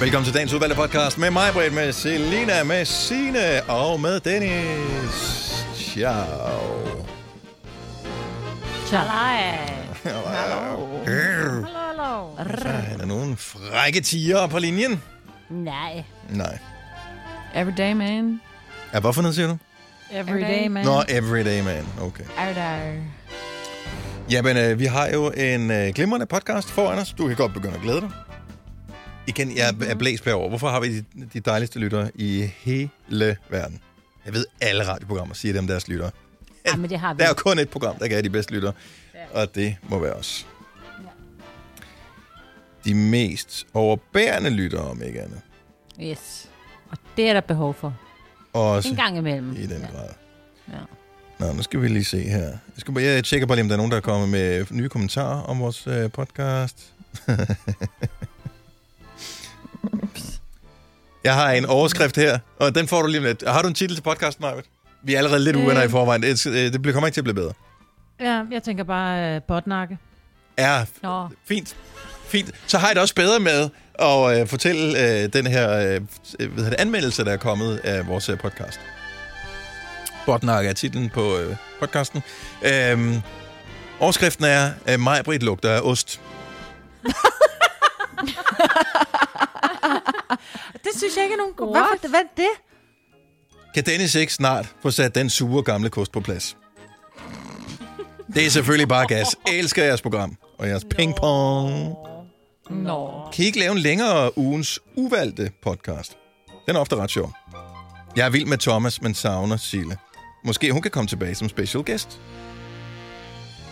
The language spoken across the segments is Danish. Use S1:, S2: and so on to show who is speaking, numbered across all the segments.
S1: Velkommen til dagens udvalgte podcast med mig, Britt, med Selina, med Sine og med Dennis. Ciao. Hallo.
S2: Hallo, hallo.
S1: Er der nogen frække tiger på linjen?
S2: Nej.
S1: Nej.
S3: Everyday man.
S1: Ja, hvorfor noget siger du?
S3: Everyday man.
S1: Nå, everyday man. Okay.
S3: Everyday.
S1: Jamen, øh, vi har jo en øh, glimrende podcast foran os. Du kan godt begynde at glæde dig. Igen, jeg er blæst over. Hvorfor har vi de, de dejligste lyttere i hele verden? Jeg ved, alle radioprogrammer siger dem deres lyttere.
S2: Ja, men det har vi.
S1: Der er jo kun et program, der kan have de bedste lyttere, og det må være os. De mest overbærende lyttere, om ikke andet.
S2: Yes. Og det er der behov for.
S1: Også
S2: En gang imellem.
S1: i den grad. Mm.
S2: Ja.
S1: Nå, nu skal vi lige se her. Jeg, skal bare, jeg tjekker bare lige, om der er nogen, der er kommet med nye kommentarer om vores øh, podcast. jeg har en overskrift her, og den får du lige om lidt. Har du en titel til podcasten, Marvitt? Vi er allerede lidt
S3: Øh.
S1: uvenner i forvejen. Det, øh, det bliver- kommer ikke til at blive bedre.
S3: Ja, jeg tænker
S4: øh,
S3: bare uh, botnakke.
S1: Ja,
S3: Nå.
S1: fint. Fint. Så har jeg det også bedre med at øh, fortælle øh, den her øh, øh, hvad hedder det, anmeldelse, der er kommet af vores øh, podcast. Botnak er titlen på øh, podcasten. Øhm, overskriften er, øh, Majbrit lugter af ost.
S3: Det synes jeg ikke er nogen god.
S2: What?
S3: Hvorfor? Hvad er det?
S1: Kan Dennis ikke snart få sat den sure gamle kost på plads? Det er selvfølgelig bare gas. Elsker jeres program og jeres pingpong.
S3: Nå.
S1: Kan I ikke lave en længere ugens uvalgte podcast? Den er ofte ret sjov. Jeg er vild med Thomas, men savner Sille. Måske hun kan komme tilbage som special guest.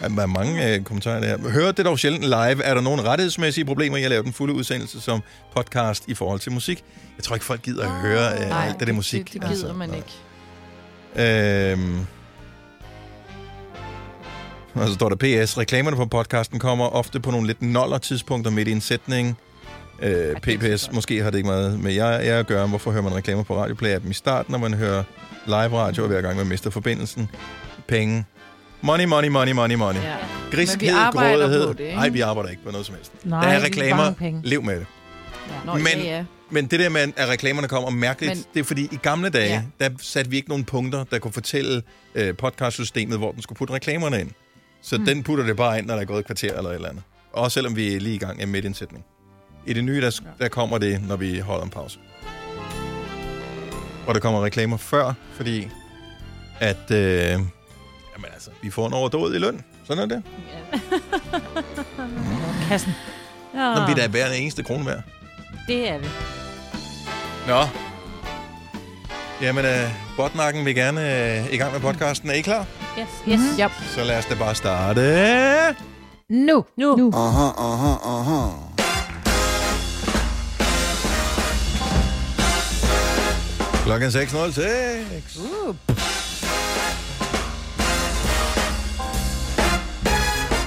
S1: Ja, Der er mange øh, kommentarer der. Hører det dog sjældent live. Er der nogle rettighedsmæssige problemer i at lave den fulde udsendelse som podcast i forhold til musik? Jeg tror ikke, folk gider at høre øh,
S3: nej,
S1: alt det der musik.
S3: Det, det gider altså, man ikke.
S1: Øhm. Og så står der PS. Reklamerne på podcasten kommer ofte på nogle lidt noller tidspunkter midt i en sætning. Øh, PPS. Måske har det ikke meget med jer, jer at gøre. Hvorfor hører man reklamer på radioplay dem i starten, når man hører live radio, og hver gang man mister forbindelsen? Penge. Money, money, money, money, money. Ja.
S3: Ja. Men vi
S1: Griskhed,
S3: arbejder på
S1: grådighed.
S3: det, ikke?
S1: Nej, vi arbejder ikke på noget som helst.
S3: Nej,
S1: der
S3: vi
S1: er
S3: er
S1: reklamer.
S3: mange penge.
S1: Lev med det.
S3: Nå,
S1: Men-
S3: men, ja, ja.
S1: Men det der med, at reklamerne kommer mærkeligt, Men...
S3: Men-
S1: det er fordi i gamle dage, ja. der satte vi ikke nogen punkter, der kunne fortælle øh, podcastsystemet, hvor den skulle putte reklamerne ind. Så mm. den putter det bare ind, når der er gået et kvarter eller et eller andet. Og selvom vi er lige i gang er midt i en sætning. I det nye, der, der kommer det, når vi holder en pause. Og der kommer reklamer før, fordi at, øh, jamen altså, vi får en overdåd i løn. Sådan er det.
S3: Kassen.
S1: Nå. Når vi da bærer en eneste krone værd.
S2: Det er vi.
S1: Nå. Jamen, øh, botnakken vil gerne øh, i gang med podcasten. Er I klar?
S2: Yes, yes. Mm-hmm.
S3: Yep.
S1: Så lad os da bare starte.
S3: Nu. Nu. nu.
S1: Klokken 6.06.
S3: Uh.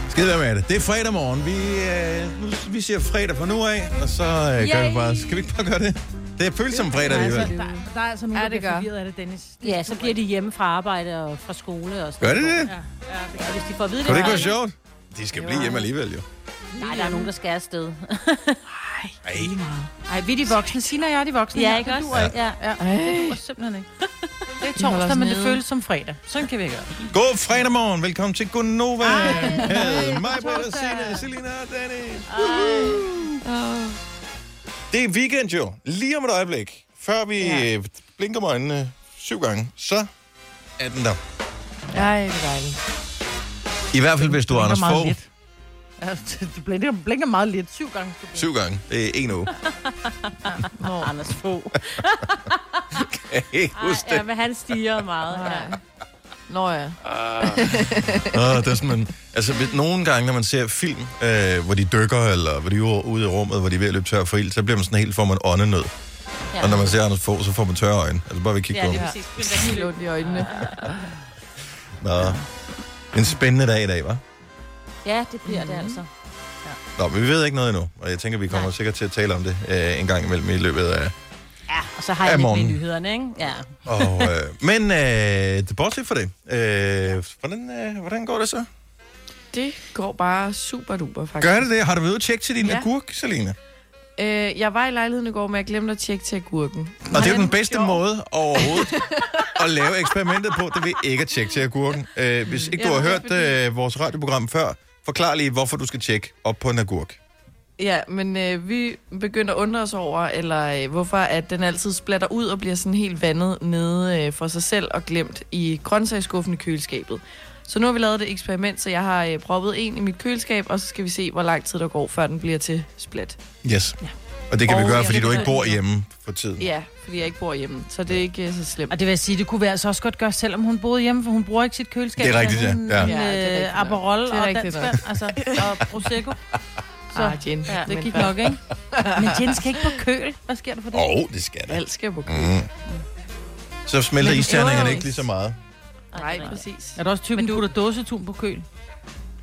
S1: Skid være med det. Det er fredag morgen. Vi, øh, nu- vi siger fredag fra nu af, og så øh, gør vi
S2: Yay.
S1: bare... Skal vi ikke bare gøre det? Det føles som fredag alligevel.
S5: Der, der er altså nogen, ja,
S3: Ja,
S5: der
S3: det
S5: bliver
S3: gør.
S5: forvirret af det, Dennis.
S2: Ja, så bliver de hjemme fra arbejde og fra skole og sådan
S1: Gør det det?
S5: Ja, ja, det
S2: Og hvis de får at vide
S1: Kunne det ikke
S2: her-
S1: være sjovt? De skal blive hjemme alligevel, jo.
S2: Nej, der er nogen, der skal afsted.
S1: Ej,
S5: Ej, vi er de voksne. Sina og jeg er de voksne.
S2: ja,
S5: Det
S2: ikke også?
S5: duer
S2: Ja.
S5: Ja, det duer simpelthen ikke. Det er torsdag,
S3: os
S5: men det
S3: nede.
S5: føles som fredag. Sådan kan vi gøre.
S1: God fredag morgen. Velkommen til Gunova. Med mig, Britta, Signe, Selina og Dennis. Det er weekend jo. Lige om et øjeblik. Før vi ja. blinker med øjnene syv gange, så er den der.
S3: Ej, det er dejligt.
S1: I hvert fald, hvis du er Anders
S5: meget
S1: Fogh.
S5: lidt. Ja, det- det blinker, blinker meget lidt. Syv gange. skulle du
S1: Syv gange. Det er en uge.
S5: blinke. Nå.
S2: Anders Fogh.
S1: Hey, husk
S2: Ja,
S1: det.
S2: men han stiger meget. Ja.
S3: Nå ja.
S1: Ah, det er sådan, man, altså, hvis- nogle gange, når man ser film, øh, hvor de dykker, eller hvor de er ude i rummet, hvor de er ved at løbe tør for ild, så bliver man sådan helt, får man åndenød.
S2: Ja.
S1: Og når man ser Anders Fogh, så får man tørre øjne. Altså bare ved at kigge
S2: Ja,
S1: på
S2: lige
S1: ham.
S2: præcis. Det er
S3: Helt
S2: helt
S3: ondt i øjnene.
S1: Nå. En spændende dag i dag, hva'?
S2: Ja, det bliver det altså.
S1: Nå, men vi ved ikke noget endnu, og jeg tænker, vi kommer Nej. sikkert til at tale om det øh, en gang imellem i løbet af...
S2: Ja, og så har jeg
S1: Ja,
S2: lidt
S1: morgen.
S2: med nyhederne, ikke? Ja.
S1: Og, øh, men øh, det bortset fra det. Øh, hvordan, øh, hvordan går det så?
S3: Det går bare super duper, faktisk.
S1: Gør det det? Har du været ude og tjekke til din ja.
S3: Ja.
S1: agurk, Selina?
S3: Øh, jeg var i lejligheden i går, men jeg glemte at tjekke til agurken.
S1: Og det er jo den bedste måde overhovedet at lave eksperimentet på, det vil ikke at tjekke til agurken. Øh, hvis ikke du
S3: Ja,
S1: har
S3: det er
S1: hørt øh, vores radioprogram før, forklar lige, hvorfor du skal tjekke op på en agurk.
S3: Ja, men øh, vi begyndte at undre os over, eller øh, hvorfor at den altid splatter ud og bliver sådan helt vandet nede øh, for sig selv og glemt i grøntsagsskuffen i køleskabet. Så nu har vi lavet et eksperiment, så jeg har øh, proppet en i mit køleskab, og så skal vi se, hvor lang tid der går, før den bliver til splat.
S1: Yes. Og det kan vi
S3: Og
S1: gøre,
S3: jeg
S1: fordi
S3: ved
S1: du ikke
S3: det.
S1: bor hjemme for tiden.
S3: Ja, fordi jeg ikke bor hjemme, så det er ikke øh, så slemt.
S4: Og det vil jeg sige, det kunne vi altså også godt gøre, selvom hun boede hjemme, for hun bruger ikke sit køleskab.
S1: Det er rigtigt, ja. Ja.
S4: Hun,
S3: Ja, det er rigtigt nok.
S4: øh, Aperol
S3: Det er
S4: og
S3: rigtigt
S4: dansk vand, altså, og Prosecco.
S3: Så, ah, Jen,
S2: Ja,
S3: ja,
S2: men
S3: det gik
S2: hvad?
S3: nok, ikke?
S4: Men Jen skal ikke på køl. Hvad sker der for det?
S1: Åh, oh, det skal det.
S3: Alt skal på køl.
S1: Mm. Så smelter
S3: Men- jo,
S1: isterningerne
S3: jo.
S1: ikke lige så meget.
S3: Nej, præcis.
S4: Er der også typen, du putter dåsetun på køl?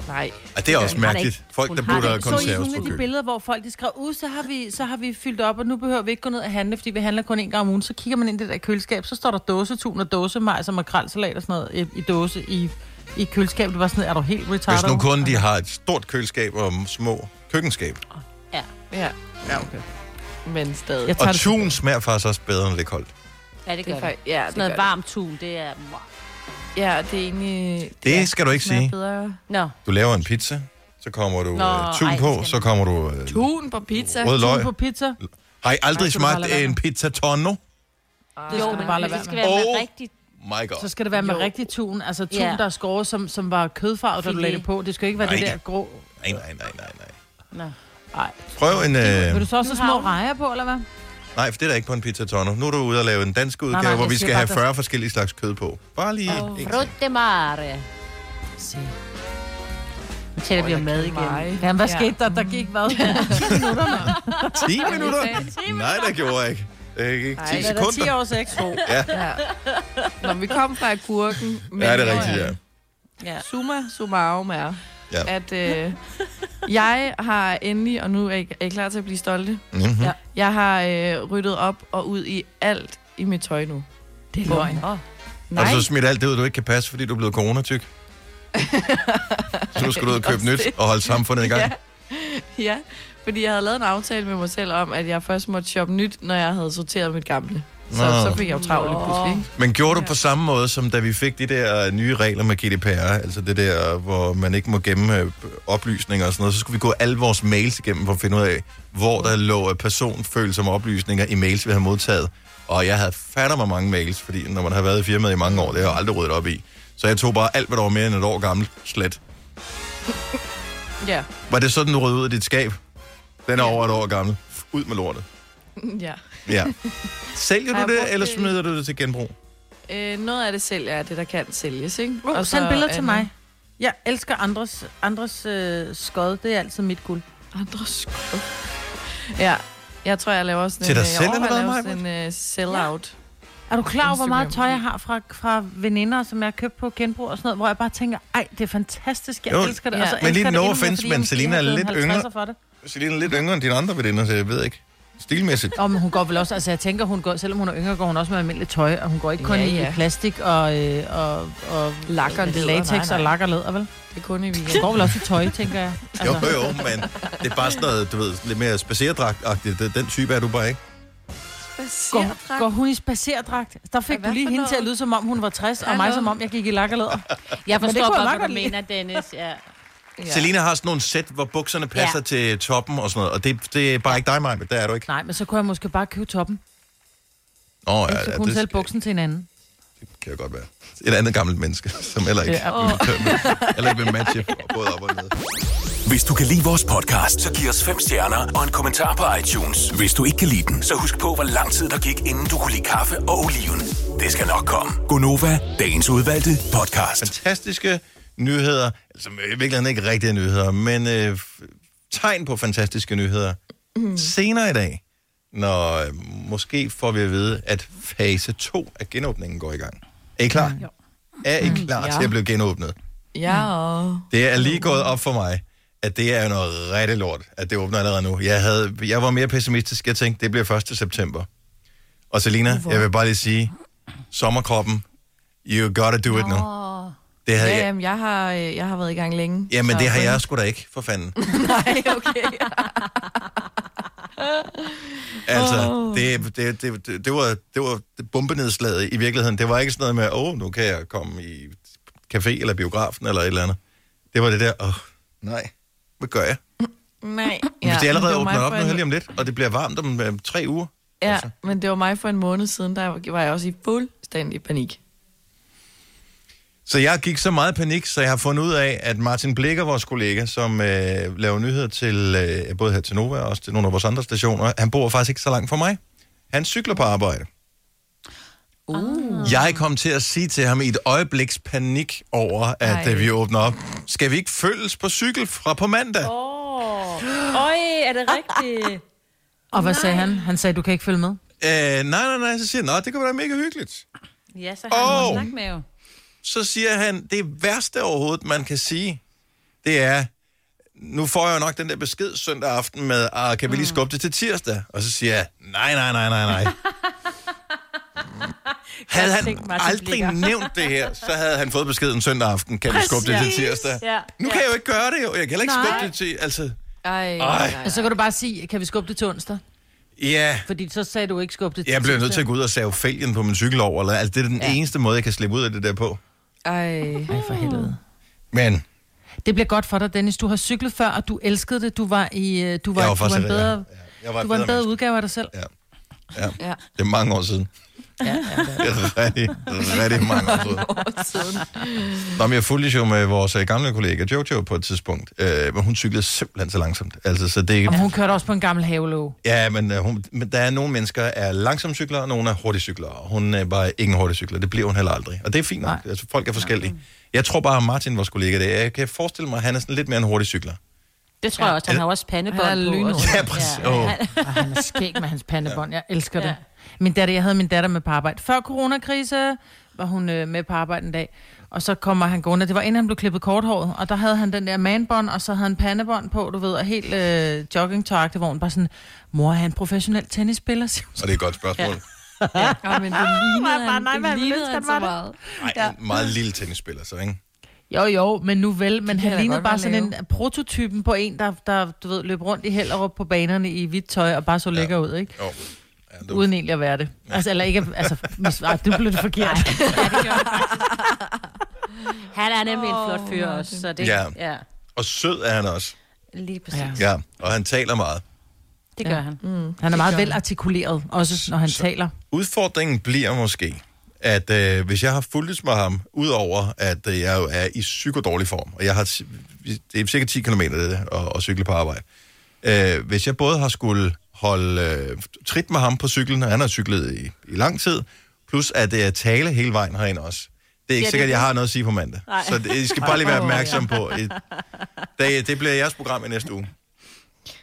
S3: Nej.
S1: Og det er også
S4: Hun har det
S1: mærkeligt. Folk, der
S4: Har
S1: putter
S4: det- så I
S1: konserves
S4: nogle af
S1: på
S4: de
S1: køl.
S4: billeder, hvor folk de skrev, ud, så har, vi, så har vi fyldt op, og nu behøver vi ikke gå ned og handle, fordi vi handler kun en gang om ugen. Så kigger man ind i det der køleskab, så står der dåsetun og dåsemajs og makrelsalat og sådan noget i, i dåse i, i køleskabet. Det var sådan, er du helt retarded?
S1: Hvis nu kun de har et stort køleskab og små køkkenskab.
S3: Ja. Ja, okay. Men stadig.
S4: Jeg tager
S1: Og
S4: det som-
S1: tun smager faktisk også bedre end lidt koldt.
S2: Ja, det
S3: det
S2: gør
S3: er
S2: det.
S3: faktisk, ja, det
S2: Sådan noget
S3: gør det.
S2: varmt tun, det er...
S3: Ja, det er egentlig...
S1: Det skal du ikke
S3: smager
S1: sige.
S3: Bedre.
S2: Nå,
S1: Du laver en pizza, så kommer du
S2: Nå,
S1: øh, tun
S2: ej, det
S1: på,
S2: skal
S1: så kommer du øh,
S3: Tun på pizza.
S1: rød
S4: Tun
S1: løg.
S4: på pizza.
S1: Har I
S4: Ej,
S1: aldrig
S4: så må du bare
S1: smagt
S4: lade være
S1: en pizza tonno?
S3: Ah,
S4: Det
S2: jo,
S4: skal du
S2: men
S4: bare lade
S2: det
S4: være
S2: skal
S4: med.
S2: være med
S1: Åh.
S2: rigtigt.
S1: My
S4: Så
S1: god.
S4: skal det være med
S3: Jo.
S4: rigtig tun. Altså tun,
S2: Ja.
S4: der er skåret, som, som var kødfarvet, da du
S2: Filet.
S4: lagde det på. Det skal jo ikke være det
S1: Nej.
S4: der grå...
S1: Nej, nej, nej, nej, nej.
S2: Nå.
S1: Prøv en...
S4: Vil du
S1: Øh,
S4: så også
S2: Nu
S4: have små
S2: har hun-
S4: rejer på, eller hvad?
S1: nej, for det er da ikke på en pizza tonno. Nu er du ude og lave en dansk udgave,
S4: nej,
S1: hvor
S4: jeg
S1: vi
S4: siger
S1: skal
S4: bare,
S1: have
S4: der-
S1: 40 forskellige slags kød på. Bare lige... Oh.
S2: Frutte mare.
S4: Se.
S2: Nu tæller vi om mad igen.
S4: Jamen, hvad
S3: Ja.
S4: skete der? Der gik hvad? 10 minutter, mand.
S1: 10 minutter? Nej, det gjorde jeg ikke. Det gik
S3: Ej,
S1: 10
S4: Hvad er der, 10
S1: sekunder.
S4: års ekstra.
S3: Ja. Når vi kom fra agurken... Men
S1: Ja, det er rigtigt, ja.
S3: ja. Summa summarum er,
S1: Ja.
S3: ja. at øh, jeg har endelig, og nu er I, er I klar til at blive stolte,
S1: Mm-hmm.
S4: Ja.
S3: jeg har øh, ryddet op og ud i alt i mit tøj nu.
S4: Det er løgn.
S2: Åh,
S1: Har
S3: Nej,
S1: du så smidt alt det ud, du ikke kan passe, fordi du er blevet coronatyk? så nu skal du ud og købe
S3: Også
S1: nyt
S3: det.
S1: og holde samfundet i gang.
S3: Ja. ja, fordi jeg havde lavet en aftale med mig selv om, at jeg først måtte shoppe nyt, når jeg havde sorteret mit gamle. Så,
S1: Nå.
S3: så fik jeg jo travlt lige pludselig. ikke?
S1: Men gjorde du på samme måde, som da vi fik de der øh, nye regler med GDPR, altså det der, hvor man ikke må gemme øh, oplysninger og sådan noget, så skulle vi gå alle vores mails igennem for at finde ud af, hvor der lå øh, personfølsomme oplysninger i mails, vi havde modtaget. Og jeg havde fatter mig mange mails, fordi når man har været i firmaet i mange år, det har jeg aldrig ryddet op i. Så jeg tog bare alt, hvad der var mere end et år gammelt, slet.
S3: Ja.
S1: Var det sådan, du rød ud af dit skab? Den er over et år gammel. Ud med lortet.
S3: ja.
S1: Ja. Sælger
S3: Har
S1: du
S3: jeg brugt
S1: det, eller
S3: det i-
S1: smider du det til genbrug?
S3: Øh, noget af det sælger er det, der kan sælges, ikke?
S4: Uh, send
S3: så
S4: billeder til
S3: andet-
S4: mig. Jeg elsker andres, andres øh, skod. Det er altid mit guld.
S3: Andre sko. Ja, jeg tror, jeg laver sådan
S1: Til
S3: en...
S1: dig
S3: øh, jeg
S1: selv, eller
S3: overvejer
S1: hvad,
S3: at lave sådan en uh, sell-out.
S4: Er du klar over, hvor meget tøj
S3: Instagram.
S4: jeg har fra, fra veninder, som jeg har købt på genbrug og sådan noget, hvor jeg bare tænker, ej, det er fantastisk, jeg
S1: Jo,
S4: jo, elsker det.
S3: ja.
S4: Og så
S3: Men
S4: elsker
S1: lige
S4: jeg det
S1: no
S4: endnu mere,
S1: offense,
S4: fordi
S1: men
S4: jeg måske
S1: Selina
S4: har
S1: er
S4: givet
S1: lidt
S4: en 50'er
S1: yngre.
S4: For det.
S1: Selina er lidt yngre end dine andre veninder, så jeg ved ikke. Stilmæssigt.
S4: Og men hun går vel også, altså jeg tænker, hun går, selvom hun er yngre, går hun også med almindeligt tøj, og hun går ikke kun
S3: Ja,
S4: ja, ja.
S3: ja.
S4: i plastik og, øh, og, og
S3: Lak og læder,
S4: latex
S3: nej, nej.
S4: og lak og læder, vel?
S3: Det er kun i
S4: Hun
S3: weekend.
S4: går vel også i tøj, tænker jeg. Altså.
S1: Jo, jo, men det er bare sådan noget, du ved, lidt mere spacerdragtagtigt. Den- Den type er du bare ikke.
S4: Går, går hun i spacerdragt? Der fik
S3: Ja,
S4: du
S3: hvad
S4: lige
S3: for
S4: hende
S3: noget?
S4: til at lyde som om, hun var 60, og mig
S3: Hallo?
S4: som om, jeg gik i lak og læder.
S2: Jeg
S4: Men det kunne
S2: forstår
S4: jeg
S2: godt,
S4: meget
S2: hvad du
S4: godt lide.
S2: mener, Dennis. Ja.
S1: Ja. Selina har sådan nogle sæt, hvor bukserne passer ja.
S2: Ja.
S1: til toppen og sådan noget, og det, det er bare ikke dig, Maja, der er du ikke.
S4: Nej, men så kunne jeg måske bare købe toppen.
S1: Nå, ja,
S4: Ja, så
S1: ja,
S4: kunne hun
S1: det
S4: sælge buksen til en anden.
S1: kan jo godt være. Et andet gammelt menneske, som heller ikke, ja.
S4: Ja.
S1: heller ikke vil matche både op og ned.
S6: Hvis du kan lide vores podcast, så giv os fem stjerner og en kommentar på iTunes. Hvis du ikke kan lide den, så husk på, hvor lang tid der gik, inden du kunne lide kaffe og oliven. Det skal nok komme. Gonova, dagens udvalgte podcast.
S1: Fantastiske nyheder, altså i virkeligheden ikke rigtige nyheder, men øh, f- tegn på fantastiske nyheder. Mm. Senere i dag, når øh, måske får vi at vide, at fase 2 af genåbningen går i gang. Er I klar? Mm. Er I klar
S3: Ja.
S1: til at blive genåbnet?
S3: Ja, og...
S1: Det er lige gået op for mig, at det er jo noget rigtig lort, at det åbner allerede nu. Jeg, havde, jeg var mere pessimistisk. Jeg tænkte, det bliver 1. september. Og Selina, jeg vil bare lige sige, sommerkroppen, you gotta do it nu.
S2: Åh,
S1: Det havde
S3: Ja,
S1: jeg,
S3: jamen, jeg har, øh, jeg har været i gang længe.
S1: jamen,
S3: så-
S1: det har jeg sgu da ikke, for fanden.
S3: Nej, okay.
S1: Altså, det, det, det, det, det, var, det var bombenedslaget i virkeligheden. Det var ikke sådan noget med, åh, oh, nu kan jeg komme i café eller biografen eller et eller andet. Det var det der, åh, oh, nej, hvad gør jeg?
S3: Nej.
S1: Ja, Hvis det allerede
S3: var
S1: det åbner
S3: mig
S1: op
S3: for
S1: nu
S3: en-
S1: her lige om lidt, og det bliver varmt om øh, tre uger.
S3: Ja,
S1: Altså.
S3: men det var mig for en måned siden, der var jeg også i fuldstændig panik.
S1: Så jeg gik så meget i panik, så jeg har fundet ud af, at Martin Blikker, vores kollega, som øh, laver nyheder til øh, både her til Nova og også til nogle af vores andre stationer, han bor faktisk ikke så langt fra mig. Han cykler på arbejde. Uh. Jeg kom til at sige til ham i et øjebliks panik over, at
S3: Ej.
S1: øh, vi åbner op. Skal vi ikke følges på cykel fra på mandag? Oh.
S7: Øj, er det rigtigt?
S4: Og hvad sagde han? Han sagde, du kan ikke følge med.
S1: Øh, nej, nej, nej. Så siger han, "Nå, det kan være mega hyggeligt.
S7: Ja, så har han
S1: Åh.
S7: oh. snak med jo.
S1: så siger han, det værste overhovedet, man kan sige, det er, nu får jeg jo nok den der besked søndag aften med, ah, kan vi lige skubbe det til tirsdag? Og så siger jeg, nej, nej, nej, nej, nej. havde han
S7: tænkt, Martin
S1: aldrig
S7: Blicher.
S1: nævnt det her, så havde han fået beskeden søndag aften, kan vi skubbe det til tirsdag?
S7: Ja.
S1: Nu kan jeg jo ikke gøre det, jo. Jeg kan heller ikke skubbe det til, altså...
S3: Ej,
S1: Ej.
S4: Og så kan du bare sige, kan vi skubbe det til onsdag?
S1: Ja,
S4: Fordi så sagde du ikke skubbe det til
S1: jeg bliver nødt til
S4: tirsdag.
S1: at gå ud og save fælgen på min cykel over, eller altså, det er den ja. eneste måde, jeg kan slippe ud af det der på.
S3: Ej.
S4: Ej, for helvede.
S1: Men
S4: Det bliver godt for dig, Dennis. Du har cyklet før, og du elskede det. Du var, i, øh, du var,
S1: jeg var
S4: du var en
S1: faktisk...
S4: bedre,
S1: ja, jeg var
S4: du var en bedre
S1: menneske.
S4: udgave af dig selv.
S1: Ja.
S3: Ja.
S1: Det er mange år siden. Ja, ja, det er rigtig, rigtig mange år siden. Nå, men jeg fulgte jo med vores øh, gamle kollega Jojo på et tidspunkt, øh, men hun cyklede simpelthen så langsomt. Altså, så det,
S4: Og hun kørte også på en gammel havelåge.
S1: ja, men, øh, hun, men der er nogle mennesker, der er langsomme cyklere, og nogle er hurtige cyklere. Og Hun øh, var ikke en hurtig cykler, det bliver hun heller aldrig. Og det er fint nok, altså, folk er forskellige. Jeg tror bare, at Martin, vores kollega, det er, jeg kan forestille mig, at han er sådan lidt mere en hurtig cykler.
S2: Det tror jeg også. Han har også
S4: Han er
S2: pandebånd på.
S4: lynhurtig.
S2: og-
S1: Ja, præcis. Ja. Oh.
S4: Ej, han er skæg med hans pandebånd. Jeg elsker det. Min datter, jeg havde min datter med på arbejde. Før coronakrise var hun øh, med på arbejde en dag. Og så kommer han gående. Det var inden han blev klippet korthåret. Og der havde han den der manbånd, og så havde han pandebånd på, du ved. Og helt øh, jogging hvor hun bare sådan, mor, er han professionel tennisspiller? siger hun så.
S1: Og det er et godt spørgsmål.
S3: Ej, men det lignede han,
S7: nej,
S3: det
S7: hvad ville
S3: lignede
S7: ønske, han
S3: han så
S7: var det?
S3: meget.
S1: Nej, ja. en meget lille tennisspiller, så ikke?
S4: Jo, jo, men nu vel. Men
S3: da
S4: han lignede
S3: godt
S4: bare
S3: være
S4: sådan en prototypen på en, der, der du ved, løb rundt i Hellerup på banerne i hvidt tøj og bare så lækker ud, ikke?
S1: Jo. Ja, det var-
S4: Uden egentlig at være det. Altså, eller ikke, altså, mis, ej, du blev det forkert.
S2: Han er nemlig en flot fyr også, så det...
S1: Ja.
S2: ja.
S1: Og sød er han også.
S2: Lige præcis. Ja.
S1: Ja, og han taler meget.
S2: Det gør han.
S4: Mm. Han er meget velartikuleret, også når han taler.
S1: Udfordringen bliver måske, at øh, hvis jeg har fulgtes med ham, udover at øh, jeg jo er i psykodårlig form, og jeg har si- det er cirka 10 km det, der, og, og cykle på arbejde. Øh, hvis jeg både har skulle holde øh, trit med ham på cyklen, og han har cyklet i, i lang tid, plus at det er tale hele vejen herind også. Det er ikke ja,
S2: det
S1: sikkert,
S2: er
S1: at jeg
S2: det.
S1: har noget at sige på mandag. Nej. Så det, I skal bare lige være opmærksom på. Et, det, det bliver jeres program i næste uge.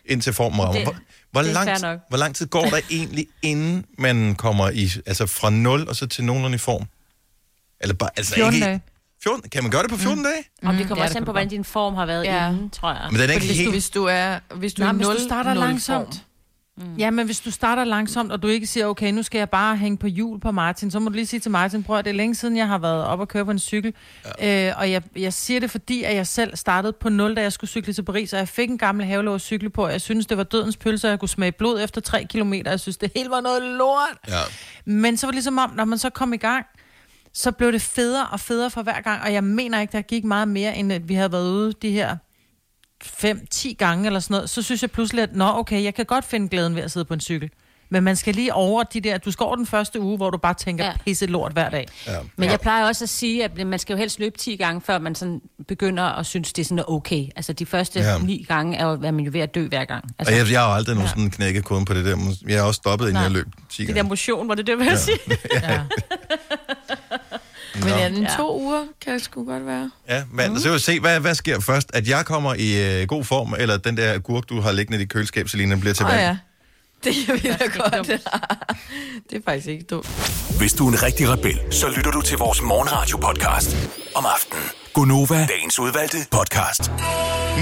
S1: Indtil formen rammer.
S2: Det-
S1: Hvor, hvor,
S2: det er
S1: lang,
S2: fair
S1: tid-
S2: nok.
S1: hvor lang tid går der egentlig, inden man kommer i, altså fra 0 og så til nogenlunde i form? Eller bare, altså
S4: 14
S1: ikke,
S4: dage.
S1: 14, kan man gøre det på 14 mm. dage?
S2: Om det
S4: ja,
S2: kommer også
S4: det
S2: an
S4: kan
S2: på, hvordan din form har været
S3: Ja.
S2: ja. inden, tror jeg.
S1: Men den er ikke
S3: Fordi hvis du,
S1: helt...
S3: hvis du er, hvis du
S4: Nej,
S3: er
S4: hvis
S3: nul,
S4: du starter
S3: nul
S4: langsomt. Mm. Ja, men hvis du starter langsomt, og du ikke siger, okay, nu skal jeg bare hænge på hjul på Martin, så må du lige sige til Martin, prøv at det er længe siden, jeg har været op og køre på en cykel. Ja. Øh, og jeg, jeg siger det, fordi at jeg selv startede på 0, da jeg skulle cykle til Paris, og jeg fik en gammel havelov at cykle på, og jeg synes det var dødens pølse, og jeg kunne smage blod efter 3 kilometer, jeg synes, det hele var noget lort.
S1: Ja.
S4: Men så var det ligesom om, når man så kom i gang, så blev det federe og federe for hver gang, og jeg mener ikke, der gik meget mere, end at vi havde været ude de her 5-10 gange eller sådan noget, så synes jeg pludselig, at nå okay, jeg kan godt finde glæden ved at sidde på en cykel. Men man skal lige over de der, du skal over den første uge, hvor du bare tænker ja.
S2: Ja.
S4: pisse lort hver dag.
S1: Ja.
S2: Men jeg plejer også at sige, at man skal jo helst løbe 10 gange, før man sådan begynder at synes, det er sådan okay. Altså de første
S1: Ja.
S2: ja. 9 gange er jo, hvad man jo ved at dø hver gang. Altså,
S1: Og jeg, jeg har jo aldrig nogensinde knækket koden på det der. Jeg har også stoppet, inden
S2: Nej.
S1: jeg løb 10
S7: Det der
S1: gange.
S7: motion, var det det, vil jeg sige?
S3: Men ja, den to uger kan det sgu godt være.
S1: Ja,
S2: Mm.
S1: men så vil vi se, hvad, hvad sker først? At jeg kommer i øh, god form, eller den der gurk, du har liggende i dit køleskab, Selina, bliver
S3: Åh
S1: tilbage?
S3: ja, det er virkelig godt. det er faktisk ikke dumt.
S6: Hvis du er en rigtig rebel, så lytter du til vores morgenradio-podcast om aftenen. Gunova, dagens udvalgte podcast.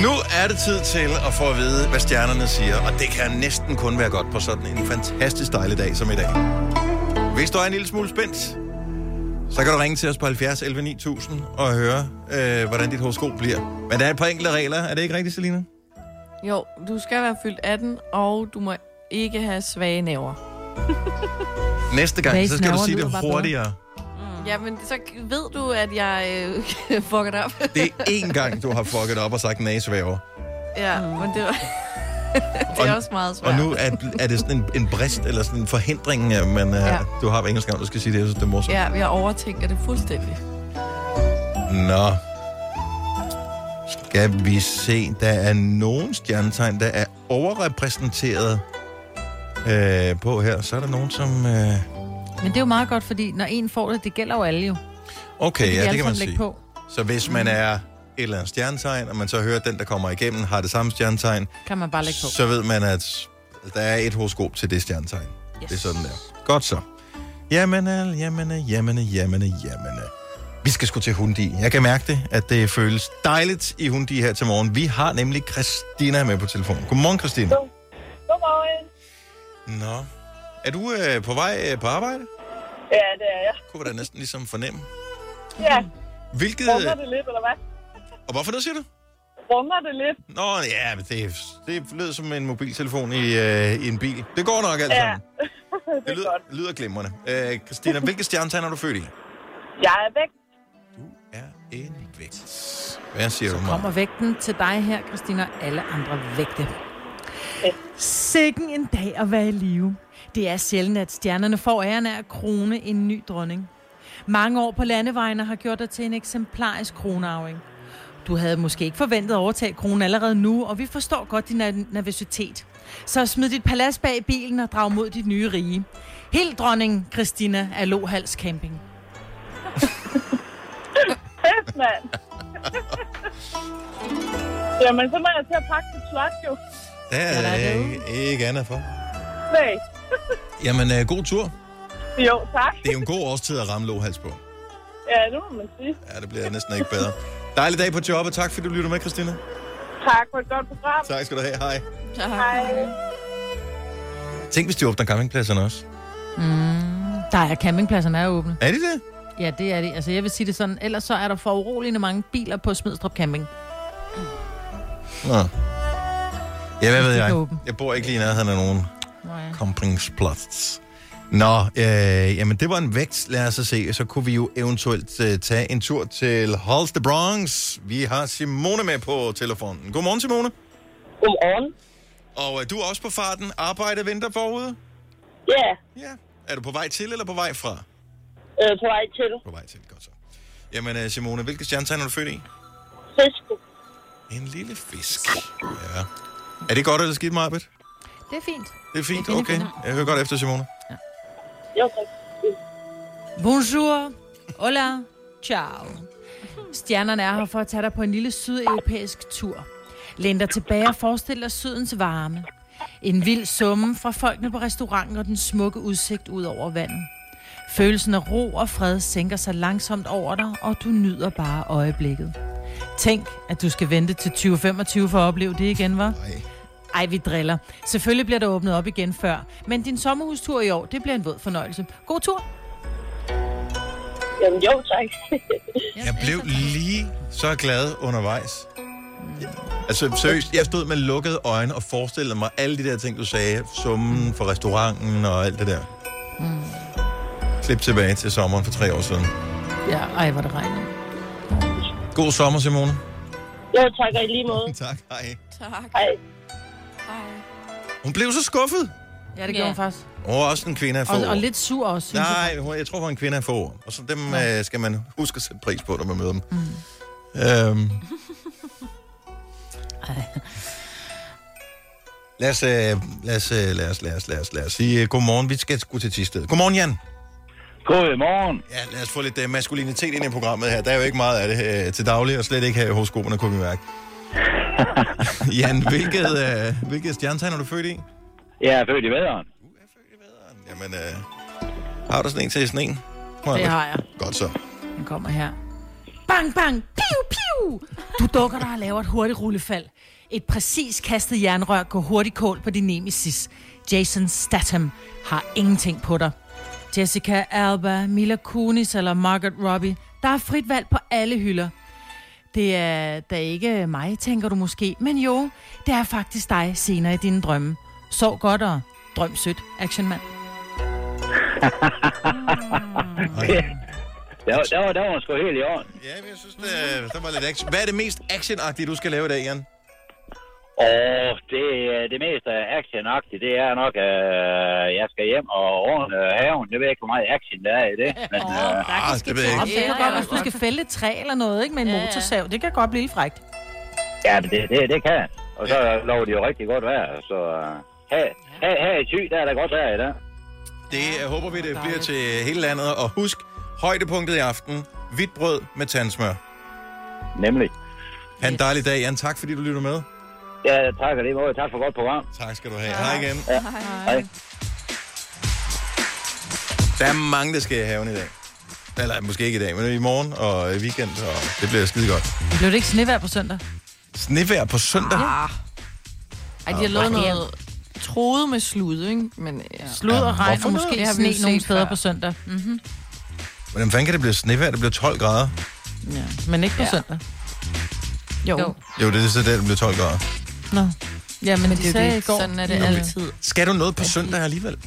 S1: Nu er det tid til at få at vide, hvad stjernerne siger, og det kan næsten kun være godt på sådan en fantastisk dejlig dag som i dag. Hvis du er en lille smule spændt, så kan du ringe til os på 70 11 9000 og høre, øh, hvordan dit horoskop bliver. Men der er et par enkelte regler, er det ikke rigtigt, Selina?
S3: Jo, du skal være fyldt 18, og du må ikke have svage næver.
S1: Næste gang,
S4: Hvad
S1: så skal du
S4: snavrer
S1: sige det
S4: lyder bare bedre.
S1: hurtigere.
S3: Jamen, så ved du, at jeg øh, fucker det op.
S1: Det er én gang, du har fucket op og sagt næsvæver.
S3: ja, men det var... det er
S1: Og-
S3: også meget svært.
S1: Og nu er, er det sådan en, en brist, eller sådan en forhindring, øh, men ja.
S3: Ja.
S1: du har på engelsk navn, du skal sige det, jeg synes, det er morsomt.
S3: Ja, vi har overtænkt det fuldstændig.
S1: Nå. Skal vi se, der er nogen stjernetegn, der er overrepræsenteret øh, på her. Så er der nogen, som... Øh...
S4: Men det er jo meget godt, fordi når en får det, det gælder jo alle jo.
S1: Okay, ja,
S4: alle
S1: det kan
S4: sammen
S1: man
S4: lægge
S1: sige.
S4: På.
S1: Så hvis man er et eller andet stjernetegn, og man så hører, at den, der kommer igennem, har det samme stjernetegn,
S4: Kan man bare lægge på.
S1: så ved man, at der er et horoskop til det stjernetegn. Yes. Det er sådan der. Godt så. Jamen, øh, jamen, øh, jamen, øh, jamen, øh, jamen. øh. Vi skal sgu til Hundi. Jeg kan mærke det, at det føles dejligt i Hundi her til morgen. Vi har nemlig Christina med på telefonen. Godmorgen, Christina.
S8: Godmorgen.
S1: Nå. Er du øh, på vej øh, på arbejde?
S8: Ja, det er jeg.
S1: Kunne vi da næsten ligesom fornemme.
S8: Ja,
S1: Hvilket...
S8: rummer det lidt, eller hvad?
S1: Og hvorfor det, siger du?
S8: Rummer det lidt?
S1: Nå, ja, men det, det lød som en mobiltelefon i, øh, i en bil. Det går nok alt
S8: Ja,
S1: sammen.
S8: det
S1: Det
S8: er
S1: lyder,
S8: godt.
S1: lyder glimrende. Øh, Christina, hvilke stjernetegn er du født i?
S8: Jeg er væk.
S1: Du er en vægt. Hvad siger du,
S4: Kommer
S1: mig?
S4: vægten til dig her, Christina, og alle andre vægte. Sikken en dag at være i live. Det er sjældent, at stjernerne får æren af at krone en ny dronning. Mange år på landevejene har gjort dig til en eksemplarisk kronarving. Du havde måske ikke forventet at overtage kronen allerede nu, og vi forstår godt din ner- nervøsitet. Så smid dit palads bag i bilen og drag mod dit nye rige. Helt dronning Christina af Lohals Camping.
S8: Kæft, mand. Jamen, så må jeg til at pakke det slot, jo.
S1: Der er ikke, ikke andet for.
S8: Nej.
S1: Jamen, øh, god tur.
S8: Jo, tak.
S1: Det er jo en god årstid at ramme låhals på.
S8: Ja, det må man sige.
S1: Ja, det bliver næsten ikke bedre. Dejlig dag på jobbet. Tak, fordi du lytter med, Christina.
S8: Tak for et godt program.
S1: Tak skal du have. Hej.
S8: Hej.
S1: Tænk, hvis de åbner campingpladserne også.
S4: Mm, Der er campingpladserne er åbne.
S1: Er de det?
S4: Ja, det er det. Altså, jeg vil sige det sådan. Ellers så er der for uroligende mange biler på Smidstrup Camping.
S1: Nå. Ja, hvad ved
S4: er
S1: jeg?
S4: åbent.
S1: Jeg bor ikke lige i nærheden af nogen
S4: Nå ja.
S1: Kompringsplads. Nå, øh, jamen det var en vægt, lad os så se. Så kunne vi jo eventuelt øh, tage en tur til Halls the Bronx. Vi har Simone med på telefonen. Godmorgen, Simone.
S8: Godmorgen.
S1: Og øh, du er også på farten. Arbejde venter forude?
S8: Ja,
S1: Ja. Er du på vej til eller på vej fra?
S8: øh, på vej til
S1: På vej til, godt så.
S9: Uh,
S1: Jamen øh, Simone, hvilke stjernetegn er du født i?
S8: fisken.
S1: En lille fisk. Ja. Er det godt eller skidt, Marbet?
S4: Det er fint.
S1: Det er fint, okay. Jeg hører godt efter, Simone.
S8: Jo, tak.
S4: Bonjour. Hola. Ciao. Stjernerne er her for at tage dig på en lille sydeuropæisk tur. Læn dig tilbage og forestil dig sydens varme. En vild summe fra folkene på restauranten og den smukke udsigt ud over vandet. Følelsen af ro og fred sænker sig langsomt over dig, og du nyder bare øjeblikket. Tænk, at du skal vente til 2025 for at opleve det igen, var?
S1: Nej.
S4: Ej, vi driller. Selvfølgelig bliver der åbnet op igen før, men din sommerhustur i år, det bliver en våd fornøjelse. God tur!
S8: Jamen, jo, tak.
S1: Jeg blev lige så glad undervejs. Altså seriøst, jeg stod med lukkede øjne og forestillede mig alle de der ting, du sagde. Summen for restauranten og alt det der. Klip tilbage til sommeren for tre år siden.
S4: Ja, ej, hvor det regner.
S1: God sommer, Simone.
S8: jo, tak og i lige måde.
S1: Tak, hej.
S3: Tak.
S8: Hej.
S3: Hej.
S1: Hun blev så skuffet.
S4: Ja, det gjorde hun faktisk.
S1: Hun var også en kvinde af få
S4: Og,
S1: ord.
S4: og lidt sur også, synes jeg.
S1: Nej, hun- jeg tror, hun er en kvinde af få ord. Og så dem øh, skal man huske at sætte pris på, når man møder dem. Mm. Øhm. Lad os, øh, lad, os, øh, lad, os, lad, os, lad os, lad os sige øh, godmorgen. Vi skal sgu til Tisted. Godmorgen, Jan.
S10: Godmorgen.
S1: Ja, lad os få lidt øh, maskulinitet ind i programmet her. Der er jo ikke meget af det øh, til daglig, og slet ikke her hos grupperne, kunne vi mærke. Jan, hvilket, øh, hvilket stjernetegn er du født i?
S10: Jeg er født i vaderen.
S1: Jamen, øh, har du sådan en til sådan en?
S4: Det har jeg.
S1: Godt så.
S4: Den kommer her. Bang, bang, piu, piu! Du dukker dig og laver et hurtigt rullefald. Et præcis kastet jernrør går hurtigt kål på din nemesis. Jason Statham har ingenting på dig. Jessica Alba, Mila Kunis eller Margaret Robbie. Der er frit valg på alle hylder. Det er da ikke mig, tænker du måske. Men jo, det er faktisk dig senere i dine drømme. Sov godt og drøm sødt, actionmand.
S10: Der, var- der, var, der var han sgu helt i orden.
S1: Ja, men jeg synes, det, øh, der var lidt action. Hvad er det mest actionagtige, du skal lave i dag, Jan?
S10: Og det, øh, det mest øh, actionagtige, det er nok, øh, jeg skal hjem og ordne øh, haven. Jeg ved ikke, hvor meget action der er i det. Men, øh,
S1: Ah, det ved jeg
S4: Og
S1: ikke.
S4: det kan
S7: ja,
S4: godt, hvis du skal fælde et træ eller noget, ikke? Med en
S7: Ja, ja.
S4: motorsav. Det kan godt blive lidt frækt.
S10: ja, men det, det, det kan han. Og så øh, lover de jo rigtig godt vejr. Så øh, her, her, her i Thy, der er der godt vejr i dag.
S1: Det øh, håber vi, det bliver til hele landet. Og husk, højdepunktet i aften, hvidt brød med tandsmør.
S10: Nemlig.
S1: Ha' en dejlig dag, Jan. Tak, fordi du lytter med.
S10: Ja, tak og lige måde. Tak for godt program.
S1: Tak skal du have. Hej igen.
S10: Hej.
S1: Der er mange, der skal i haven i dag. Eller måske ikke i dag, men i morgen og i weekend, og det bliver skide godt.
S4: Blev det ikke snevær på søndag?
S1: Snevejr på søndag.
S3: Ej, de har lavet noget troet med slud, ikke? Men ja.
S4: Blod og regn,
S1: hvorfor
S4: og
S1: noget?
S4: måske
S3: Det har vi jo
S4: sne nogle
S3: set
S4: steder
S3: før.
S4: på søndag. Mm.
S1: Hvordan fanden kan det blive snevejr? Det bliver 12 grader.
S4: Men ikke på ja. søndag.
S3: jo. jo.
S1: Jo, det er så der, det bliver 12 grader.
S4: Nå. Ja, men, men de
S3: Det er
S4: sagde
S3: jo
S4: i
S3: det.
S4: går...
S3: Sådan er det altid.
S1: Skal du noget på søndag alligevel?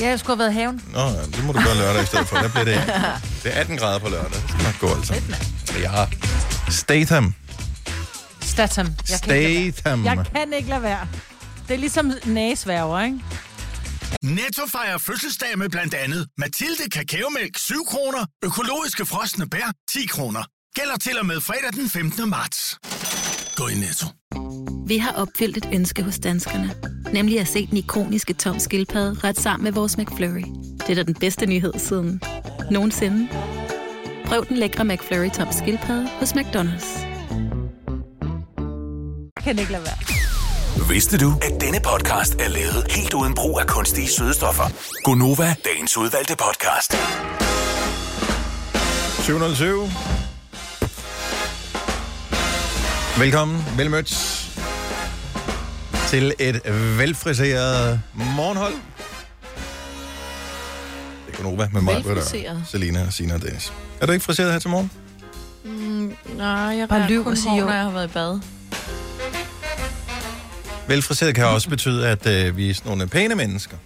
S4: Ja, jeg skulle have været i haven.
S1: Nå, ja, det må du gøre lørdag i stedet for. Der bliver det, det er 18 grader på lørdag. Det skal nok gå altså. Ja. Statham.
S4: Statham. Jeg kan, ikke lade
S1: Statham.
S4: være. jeg kan ikke lade være. Det er ligesom næsværger, ikke?
S6: Netto fejrer fødselsdag med blandt andet Mathilde Kakaomælk 7 kroner, økologiske frosne bær 10 kroner. Gælder til og med fredag den 15. marts. Gå i Netto.
S11: Vi har opfyldt et ønske hos danskerne. Nemlig at se den ikoniske tom skildpadde ret sammen med vores McFlurry. Det er da den bedste nyhed siden nogensinde. Prøv den lækre McFlurry tom skildpadde hos McDonald's.
S4: Jeg kan ikke lade være.
S6: Vidste du, at denne podcast er lavet helt uden brug af kunstige sødestoffer? Gonova, dagens udvalgte podcast.
S1: 707. Velkommen, velmødt til et velfriseret morgenhold. Det er Gunova med mig,
S3: Velfriseret.
S1: Selina og Sina og Dennis. Er du ikke friseret her til morgen?
S3: Mm, Nej, jeg
S4: Bare
S3: Bare
S4: lyv
S3: kun
S4: og sig
S3: hår,
S4: jo.
S3: når jeg har været i bad.
S4: Mhm.
S1: Velfriseret kan også betyde, at øh, vi er sådan nogle pæne mennesker.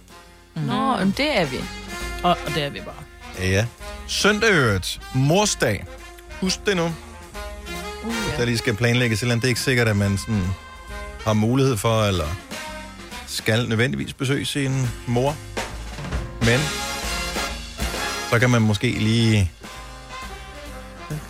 S3: Nå, men det er vi.
S4: Og, og det er vi bare.
S1: Ja. Søndag i øvrigt. Morsdag. Husk det nu. Hvis der lige skal planlægges et eller andet. Det er ikke sikkert, at man sådan har mulighed for, eller skal nødvendigvis besøge sin mor. Men så kan man måske lige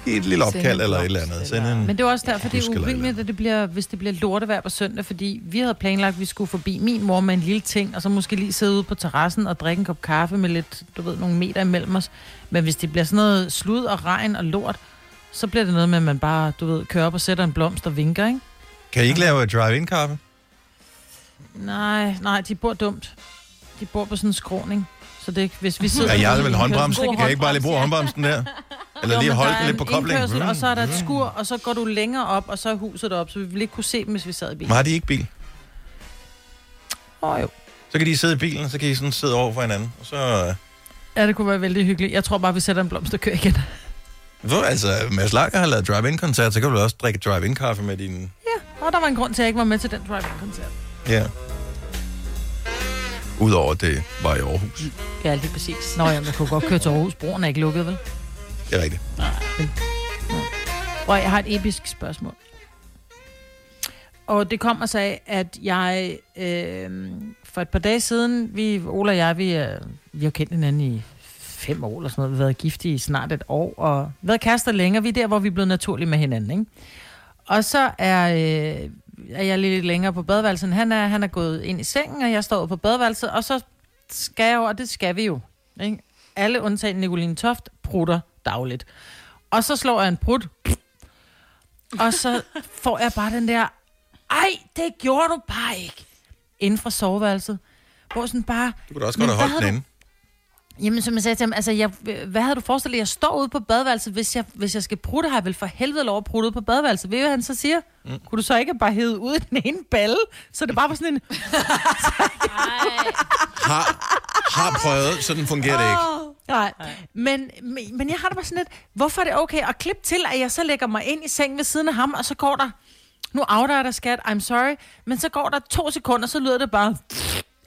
S1: give et lille
S3: Sende
S1: opkald eller et
S3: en
S1: eller
S3: blomst,
S1: andet. Sende
S3: eller-
S1: en...
S4: Men det er også derfor, det
S1: Husk
S4: er
S1: eller
S4: urimeligt, at det bliver, hvis det bliver lortevejr på søndag, fordi vi havde planlagt, at vi skulle forbi min mor med en lille ting, og så måske lige sidde ude på terrassen og drikke en kop kaffe med lidt, du ved, nogle meter imellem os. Men hvis det bliver sådan noget slud og regn og lort, så bliver det noget med, at man bare, du ved, kører op og sætter en blomst og vinker, ikke?
S1: Kan I ikke lave drive-in-kaffe?
S4: Nej, nej, de bor dumt. De bor på sådan en skråning. Så det, hvis vi sidder...
S1: Ja, jeg har vel håndbremsen.
S4: God
S1: Kan jeg ikke bare lige bruge håndbremsen der? Eller lige
S4: Jo, men
S1: holde
S4: der
S1: den
S4: er
S1: lidt på
S4: en
S1: koblingen? Mm.
S4: indkørsel, Og så er der et skur, og så går du længere op, og så er huset op, så vi ville ikke kunne se dem, hvis vi sad i bilen.
S1: Men har de ikke bil?
S4: Åh oh, jo.
S1: Så kan de sidde i bilen, og så kan I sådan sidde over for hinanden. Og så... øh,
S4: Ja, det kunne være vældig hyggeligt. Jeg tror bare, vi sætter en blomst og kører igen.
S1: Hvor, altså, Mads Langer har lavet drive-in-koncert, så kan du vel også drikke drive-in-kaffe med din...
S4: Og der var en grund til, at jeg ikke var med til den drive-in-koncert.
S1: Ja. Udover det var i Aarhus.
S2: Ja, lige præcis.
S4: Nå ja, man kunne godt køre til Aarhus. Broen er ikke lukket, vel?
S1: Det er rigtigt.
S4: Og jeg har et episk spørgsmål. Og det kommer sig at jeg øh, for et par dage siden, vi, Ola og jeg, vi, er, vi har kendt hinanden i fem år eller sådan noget. Vi har været gift i snart et år, og været kærester længere. Vi er der, hvor vi er blevet naturlige med hinanden, ikke? Og så er, øh, er jeg lidt længere på badeværelset. end Han er, han er gået ind i sengen, og jeg står ude på badeværelset, og så skal jeg jo, og det skal vi jo. Ikke? Alle undtagen Nicoline Toft prutter dagligt. Og så slår jeg en prut, og så får jeg bare den der, ej, det gjorde du bare ikke, inden fra soveværelset. Hvor sådan bare,
S1: Du kunne da også
S4: Men
S1: godt have
S4: hvad
S1: holdt
S4: har
S1: den
S4: du-
S1: inde.
S4: Jamen, som jeg sagde til ham, altså, jeg, hvad havde du forestillet, jeg står ude på badeværelset, hvis jeg, hvis jeg skal prutte, har jeg vel for helvede lov at prutte ude på badeværelset. Ved du, hvad han så siger? Mm. Kunne du så ikke bare hede ud i den ene balle? Så det bare var sådan en,
S1: Har, har prøvet, så den fungerer det ikke.
S4: nej. Men, men, men jeg har det bare sådan lidt, hvorfor er det okay at klippe til, at jeg så lægger mig ind i sengen ved siden af ham, og så går der, nu afdager der skat, I'm sorry, men så går der to sekunder, så lyder det bare,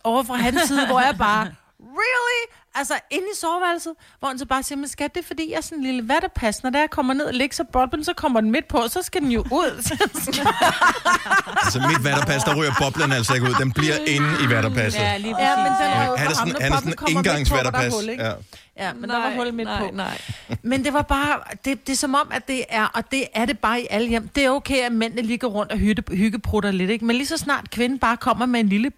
S4: over fra hans side, hvor jeg bare, really? Altså, inde i soveværelset, hvor han så bare siger, men skat, det er fordi, jeg er sådan en lille vatterpas. Når der kommer ned og ligger sig boblen, så kommer den midt på, så skal den jo ud.
S1: Altså mit vatterpas, der ryger boblen altså ikke ud. Den bliver inde i vatterpasset.
S4: Ja, lige præcis. Ja, men den er jo
S1: Han er sådan,
S4: for ham, når
S1: han er
S4: poppen
S1: sådan
S4: kommer midt
S1: en
S4: på,
S1: engangsvatterpas.
S4: hvor der er hul, ikke?
S1: Ja.
S4: Ja, men nej, der var hul midt
S3: nej,
S4: på.
S3: Nej.
S4: Men det var bare, det, det er som om, at det er, og det er det bare i alle hjem. Det er okay, at mændene ligger rundt og hytte, hyggeprutter lidt, ikke? Men lige så snart kvinden bare kommer med en lille,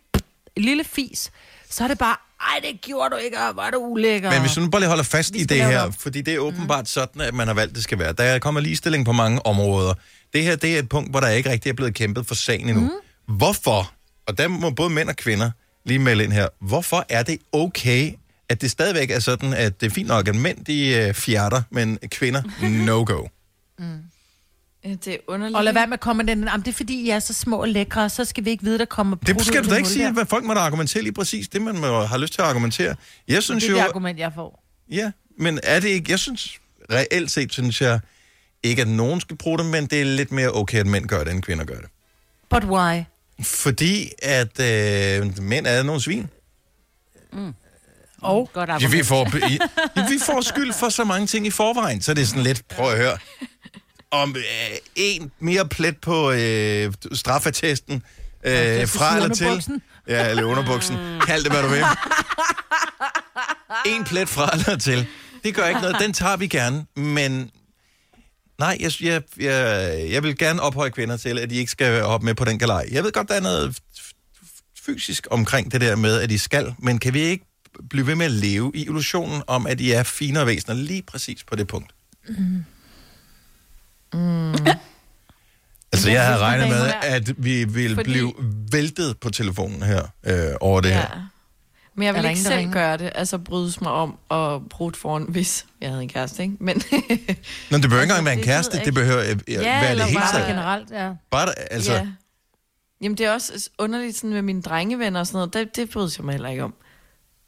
S4: en lille fis, så er det bare, ej, det gjorde du ikke, og hvor er du ulækker.
S1: Men hvis du nu bare lige holder fast i det
S4: lave det
S1: her, Mm.
S4: om.
S1: fordi det er åbenbart sådan, at man har valgt, det skal være. Der kommer ligestilling på mange områder. Det her, det er et punkt, hvor der ikke rigtig er blevet kæmpet for sagen endnu. Mm. Hvorfor, og der må både mænd og kvinder lige melde ind her, hvorfor er det okay, at det stadigvæk er sådan, at det er fint nok, at mænd de øh, fjerter, men kvinder, no-go.
S3: Ja, Det er underligt.
S4: Og lad være med at komme med den, jamen, det er fordi, I er så små og lækre, og så skal vi ikke vide, der kommer
S1: Det
S4: brudt ud
S1: skal du
S4: af
S1: da ikke
S4: hul
S1: sige,
S4: der.
S1: hvad folk må da argumentere lige præcis. Det, man må har lyst til at argumentere. Jeg synes
S4: Det er
S1: jo...
S4: det argument, jeg får.
S1: Ja, men er det ikke... Jeg synes, reelt set synes jeg ikke, at nogen skal bruge det, men det er lidt mere okay, at mænd gør det, end kvinder gør det.
S4: But why?
S1: Fordi at øh, mænd er nogle svin.
S4: Og? Godt
S1: Mm. Ja,
S4: argument.
S1: vi, får, i, vi får skyld for så mange ting i forvejen, så det er sådan lidt, prøv at høre, om øh, en mere plet på øh, straffatesten, øh, fra eller til.
S4: underbuksen.
S1: Ja, eller underbuksen. Kald det, hvad du vil. En plet fra eller til. Det gør ikke noget. Den tager vi gerne, men... Nej, jeg, jeg, jeg, jeg vil gerne ophøje kvinder til, at de ikke skal hoppe med på den galej. Jeg ved godt, der er noget f- f- fysisk omkring det der med, at de skal, men kan vi ikke blive ved med at leve i illusionen om, at de er finere væsener lige præcis på det punkt?
S4: Mm.
S1: Altså, jeg havde regnet med, at vi ville
S3: Fordi-
S1: blive væltet på telefonen her øh, over det ja. her.
S3: Men jeg
S4: Er
S3: vil
S4: der
S3: ikke
S4: ingen, der
S3: selv
S4: ringer?
S3: gøre det. Altså brydes mig om at bruge det foran, hvis jeg havde en kæreste, ikke?
S1: Nå,
S3: Men
S1: det behøver ikke
S3: Altså,
S1: engang være en
S3: det ved
S1: kæreste,
S3: jeg
S1: det
S3: ikke.
S1: behøver øh, øh, være det
S3: eller
S1: hele
S3: bare-
S1: taget.
S4: Generelt, ja.
S1: Bare, der- altså,
S3: ja. Jamen, det er også underligt sådan med mine drengevenner og sådan noget. Det, det brydes jeg mig heller ikke om.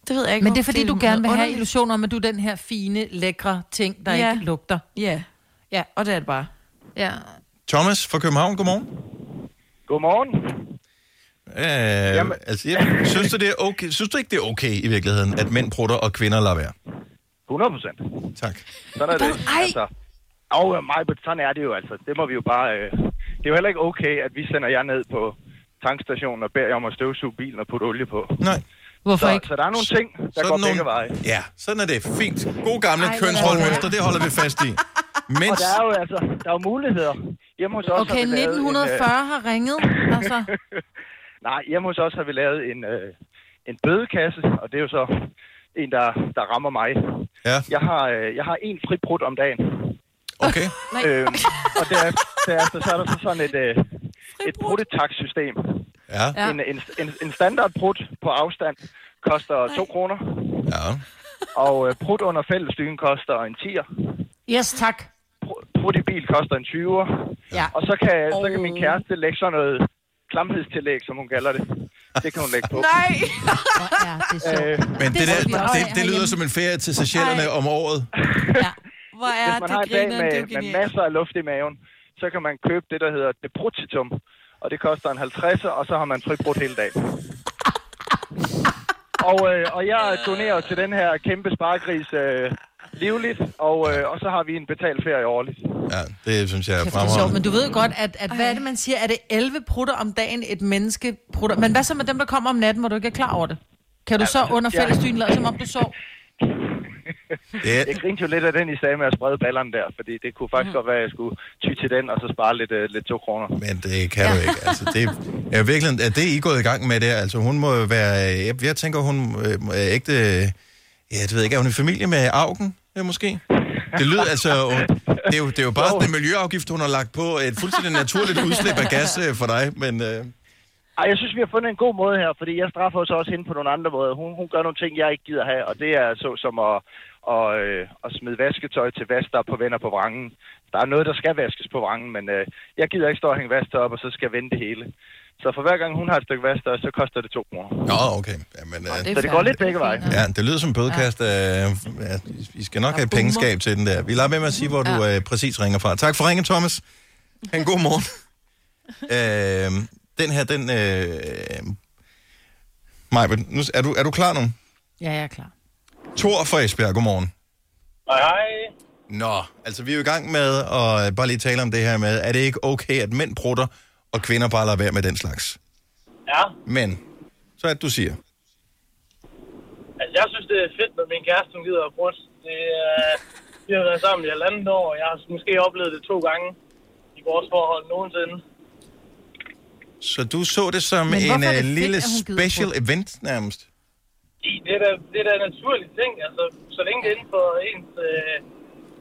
S3: Det ved jeg ikke.
S4: Men det er
S3: hvorfor.
S4: fordi, du gerne vil have
S3: underligt.
S4: illusioner om, at du er den her fine, lækre ting, der
S3: Ja.
S4: ikke lugter.
S3: Ja.
S4: Ja.
S3: ja, og det er det bare.
S4: Ja.
S1: Thomas fra København, godmorgen.
S12: Godmorgen.
S1: Øh,
S12: Jamen.
S1: altså, jeg, synes, du det er okay, synes du ikke, det er okay i virkeligheden, at mænd prutter og kvinder lader være?
S12: 100 procent.
S1: Tak.
S12: Sådan er det. Altså, og øh, mig, men sådan er det jo altså. Det må vi jo bare... Øh, det er jo heller ikke okay, at vi sender jer ned på tankstationen og beder jer om at støvsuge bilen og putte olie på.
S1: Nej.
S4: Hvorfor
S12: så,
S4: ikke?
S12: Så der er nogle ting, der sådan går
S1: nogle-
S12: begge veje.
S1: Ja, sådan er det. Fint. God
S4: Ej, hvor
S1: gamle
S4: er det
S1: kønsrollemønster, det holder vi fast i.
S12: Og
S1: Mens,
S12: der er jo altså, der er jo muligheder. Hjemme hos os
S4: Okay,
S12: har vi lavet En,
S4: 1940
S12: øh,
S4: har ringet, altså.
S12: nej, hjemme hos os har vi lavet en, øh, en bødekasse, og det er jo så en, der, der rammer mig.
S1: Ja.
S12: Jeg har, øh, jeg har en fribrud om dagen.
S1: okay.
S12: Øhm, og derefter, derefter så er der så sådan et, øh, et prototax-system.
S1: Ja,
S12: Ja. En, en, en, en standardbrud på afstand koster 2 kroner,
S1: ja.
S12: og øh, brud under fællesstyen koster en 10'er.
S4: Yes, tak.
S12: Brud- Brud i bil koster en 20'er.
S4: Ja.
S12: Og så kan, så kan min kæreste lægge sådan noget klamhedstillæg, som hun kalder det. Det kan hun lægge på.
S3: Nej!
S4: Ja, det er sjovt.
S12: Øh,
S1: Men det,
S4: Det
S1: der,
S4: skal vi også
S1: det,
S4: have
S1: det lyder
S4: herhjemme.
S1: som en ferie til Seychellerne om året.
S3: Hvor er
S12: hvis man har
S3: det
S12: en dag
S3: grineren, det er jo
S12: med, med
S3: genialt.
S12: masser af luft i maven, så kan man købe det, der hedder deprutitum. Og det koster en 50, og så har man fribrudt hele dagen. Og, øh, og jeg donerer til den her kæmpe sparegris øh, livligt, og, øh, og så har vi en betalt ferie årligt.
S1: Ja, det synes jeg er
S4: Kæft, det er sjovt,
S1: fremragende.
S4: men du ved godt, at, at hvad er det, man siger? Er det 11 prutter om dagen, et menneske prutter? Men hvad så med dem, der kommer om natten, hvor du ikke er klar over det? Kan du så under
S12: ja.
S4: fællestyn lade, som om du sov?
S1: Det er,
S12: Jeg grinte jo lidt af den i stedet med at sprede ballerne der, fordi det kunne faktisk godt være, at jeg skulle ty til den, og så spare lidt, øh, lidt to kroner.
S1: Men det kan du ikke. Altså, det er virkelig, at det I er gået i gang med der, altså hun må jo være, øh, jeg, jeg tænker, hun øh, er ægte, øh, ja, det ved jeg ikke, er hun i familie med Augen, ja, måske? Det lyder altså, hun, det, er jo, det er jo bare den miljøafgift, hun har lagt på, et fuldstændig naturligt udslip af gas øh, for dig, men øh,
S12: Ej, jeg synes, vi har fundet en god måde her, fordi jeg straffer så også hende på nogle andre måder. Hun, hun gør nogle ting, jeg ikke gider have, og det er så som at, at, øh, at smide vasketøj til vask, der er på venner på vrangen. Der er noget, der skal vaskes på vrangen, men øh, jeg gider ikke stå og hænge vasketøj op, og så skal jeg vende det hele. Så for hver gang hun har et stykke vasketøj, så koster det to kroner.
S1: nå, okay. Ja, men, øh,
S12: Så det går lidt begge veje.
S1: ja, det lyder som en bødekast. Øh, ja, I skal nok have et pengeskab til den der. Vi lader med med at sige, hvor du øh, præcis ringer fra. Tak for ringen, Thomas. Ha' en god morgen. øh, den her, den... Øh, Maj, nu, er, du, er du klar nu?
S4: Ja, jeg er klar.
S1: Tor fra Esbjerg, godmorgen.
S9: Hej, hej.
S1: Nå, altså vi er jo i gang med at øh, bare lige tale om det her med, er det ikke okay, at mænd prutter, og kvinder bare lader være med den slags?
S9: Ja,
S1: Men, så at du siger,
S9: altså jeg synes, det er fedt, at min kæreste, hun gider at bruge. Det, øh, vi har været sammen i halvandet år, og jeg har måske oplevet det to gange i vores forhold nogensinde.
S1: så du så det som
S9: Men hvorfor
S1: en
S9: er det
S1: øh,
S9: fedt,
S1: lille
S9: at hun gider
S1: special
S9: prutte?
S1: event nærmest?
S9: Fordi det er da, det er da en naturlig ting, altså så længe det er inden for ens øh,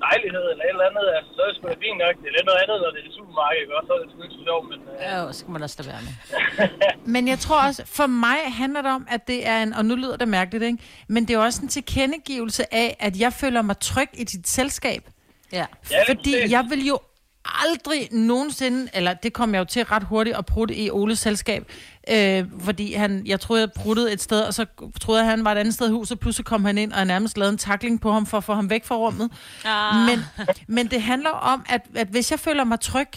S9: lejlighed eller et eller andet, altså så er det sgu da fint nok. Det er lidt noget andet, når det er i supermarkedet, ikke? også? så er det sgu ikke så sjovt, men... Øh,
S2: Ja, så kan man også lade være med.
S4: Men jeg tror også, for mig handler det om, at det er en, og nu lyder det mærkeligt, ikke? men det er jo også en tilkendegivelse af, at jeg føler mig tryg i dit selskab.
S2: Ja.
S4: Fordi jeg vil jo aldrig nogensinde, eller det kom jeg jo til ret hurtigt at prutte i Oles selskab, øh, fordi han, jeg troede, jeg pruttede et sted, og så troede jeg, han var et andet sted i huset, pludselig kom han ind, og jeg nærmest lavede en takling på ham for at få ham væk fra rummet.
S2: Ah.
S4: Men, men det handler om, at, at hvis jeg føler mig tryg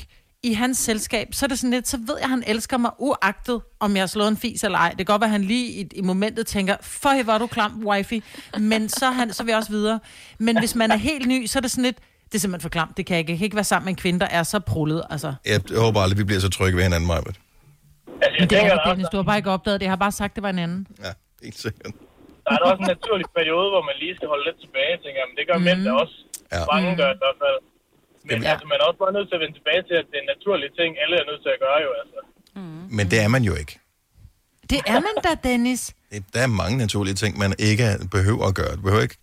S4: i hans selskab, så er det sådan lidt, så ved jeg, at han elsker mig uagtet, om jeg har slået en fis eller ej. Det kan godt være, at han lige i, i momentet tænker, for hvor er du klam, wifey, men så, er han, så vil jeg også videre. Men hvis man er helt ny, så er det sådan lidt, det er simpelthen for klamt, det kan jeg ikke. Jeg kan ikke være sammen med en kvinde, der er så prullet, altså.
S1: Jeg håber aldrig, vi bliver så trygge ved hinanden, Maja.
S4: Men det er det, Dennis, du har bare ikke opdaget det. Jeg har bare sagt, det var en anden.
S1: Ja, helt sikkert.
S9: der er da også en naturlig periode, hvor man lige skal holde lidt tilbage, tænker jeg. Men det gør mm. mænd da også.
S1: Ja.
S9: Mange
S1: Mm.
S9: gør det i hvert fald. Men altså, man er også bare nødt til at vende tilbage til, at det er en naturlig ting, alle er nødt til at gøre jo, altså.
S1: Men det er man jo ikke.
S4: Det er man da, Dennis.
S1: Det- Der er mange naturlige ting, man ikke behøver at gøre. Du behøver ikke...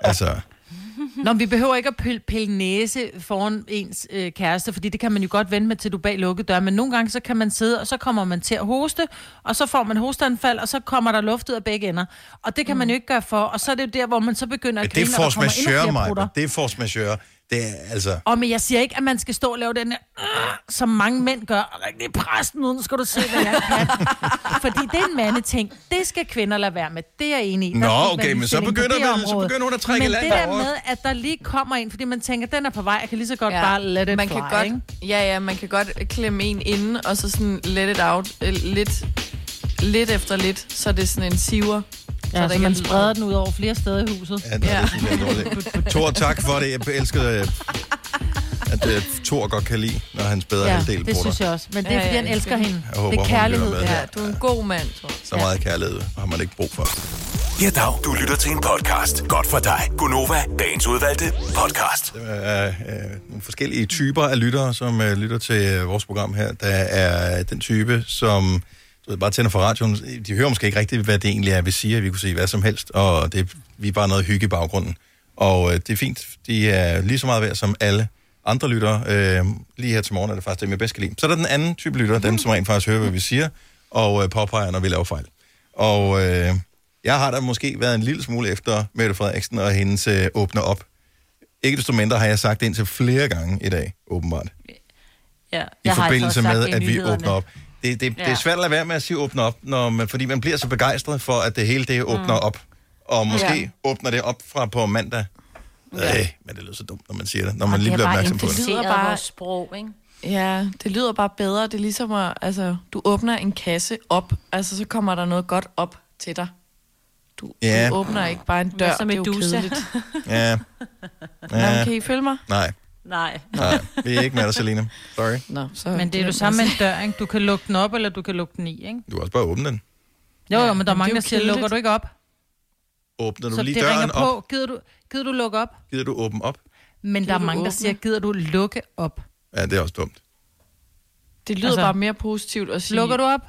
S1: Altså,
S4: Nå, men vi behøver ikke at pille, pille næse foran ens øh, kæreste, fordi det kan man jo godt vende med, til du er bag lukkede døre. Men nogle gange, så kan man sidde, og så kommer man til at hoste, og så får man hosteanfald, og så kommer der luft ud af begge ender. Og det kan man jo ikke gøre for. Og så er det jo der, hvor man så begynder at
S1: Mm. det er
S4: grine, og der
S1: force
S4: kommer endnu
S1: majeure,
S4: flere
S1: Maja.
S4: prutter.
S1: Det er force majeure. Det er altså...
S4: Og men jeg siger ikke, at man skal stå og lave den her, "Åh", som mange mænd gør. Og rigtig præsten, uden skal du se, hvad jeg kan. Fordi det er en mandeting. Det skal kvinder lade være med. Det er jeg enig i.
S1: Nå,
S4: Der skal ikke
S1: okay,
S4: være
S1: men så
S4: ligestilling på
S1: begynder
S4: det
S1: man- så
S4: område.
S1: begynder hun at trække
S4: Men
S1: i land
S4: det der
S1: derovre.
S4: med, at der lige kommer en, fordi man tænker, den er på vej, jeg kan lige så godt ja. bare lade det
S3: man
S4: fly,
S3: kan godt,
S4: ikke?
S3: Ja, ja, man kan godt klemme en inden, og så sådan let it out, øh, lidt, lidt efter lidt, så det er sådan en siver.
S4: Ja, så
S3: ikke
S4: man
S3: er lyd.
S4: spreder den ud over flere steder i huset.
S1: Ja, nej, det synes jeg er dårligt. Thor, tak for det. Jeg elskede, øh, at øh, Thor godt kan lide, når hans bedre ja,
S4: ja,
S1: halvdel
S4: det
S1: bruger
S4: synes
S1: dig.
S4: jeg også. Men det er,
S3: Ja,
S4: fordi
S3: ja,
S4: han
S3: det
S4: elsker
S3: skal-
S4: hende.
S1: Jeg håber,
S4: det
S1: hun
S4: er
S1: lytter
S4: kærlighed.
S1: med her.
S3: Ja, du er en god mand, tror jeg.
S1: Så meget kærlighed har man ikke brug for.
S6: Ja, dag. Du lytter til en podcast. Godt for dig. Gunova, dagens udvalgte podcast.
S1: Der er øh, nogle forskellige typer af lyttere, som øh, lytter til øh, vores program her. Der er den type, som du ved, bare tænder for radioen. De hører måske ikke rigtigt, hvad det egentlig er, vi siger. Vi kunne sige hvad som helst, og det, vi er bare noget hygge i baggrunden. Og øh, det er fint. De er lige så meget værd som alle andre lyttere. Øh, lige her til morgen er det faktisk dem, jeg bedst kan lide. Så er der den anden type lyttere, dem som rent faktisk hører, hvad vi siger, og øh, påpeger, når vi laver fejl. Og øh, jeg har da måske været en lille smule efter Mette Frederiksen og hendes øh, åbne op ikke desto mindre har jeg sagt det indtil flere gange i dag, åbenbart. I
S2: Ja.
S4: altså
S1: forbindelse med, at vi åbner op. Det, det, ja. det
S2: Ja.
S1: er svært at lade være med at sige åbne op, når man, fordi man bliver så begejstret for, at det hele det åbner
S2: Mm.
S1: op. Og måske
S2: Ja.
S1: ja. åbner det op fra på mandag. Øh, men det lyder så dumt, når man siger det, når man lige bliver opmærksom på det.
S2: lyder bare vores sprog, ikke?
S3: Ja, det lyder bare bedre. Det er ligesom at, altså, du åbner en kasse op, altså så kommer der noget godt op til dig. Du,
S1: Ja.
S3: du åbner ikke bare en
S2: Hvad
S3: dør,
S2: så med
S3: det er jo
S2: Dusa?
S3: kedeligt.
S1: Ja.
S3: Nå, men kan I følge mig?
S1: Nej,
S2: Nej.
S1: nej. Vi er ikke med dig, Selina. Sorry.
S3: Nå, så
S4: Men det er jo samme med en dør, ikke? Du kan lukke den op, eller du kan lukke den i, ikke?
S1: Du kan også bare åbne den.
S4: Jo, jo, men der er
S3: men
S4: mange,
S3: det er
S4: der
S3: jo
S4: siger,
S3: kedeligt.
S4: lukker du ikke op?
S1: Åbner du
S4: så
S1: lige
S4: det
S1: døren
S4: ringer
S1: op?
S4: på, gider du, gider du lukke op?
S1: Gider du åbne op?
S4: Men gider der er
S3: du
S4: mange, der
S3: åbne?
S4: siger, gider du lukke op?
S1: Ja, det er også dumt.
S3: Det lyder
S4: Altså,
S3: altså, bare mere positivt at sige...
S4: lukker du op?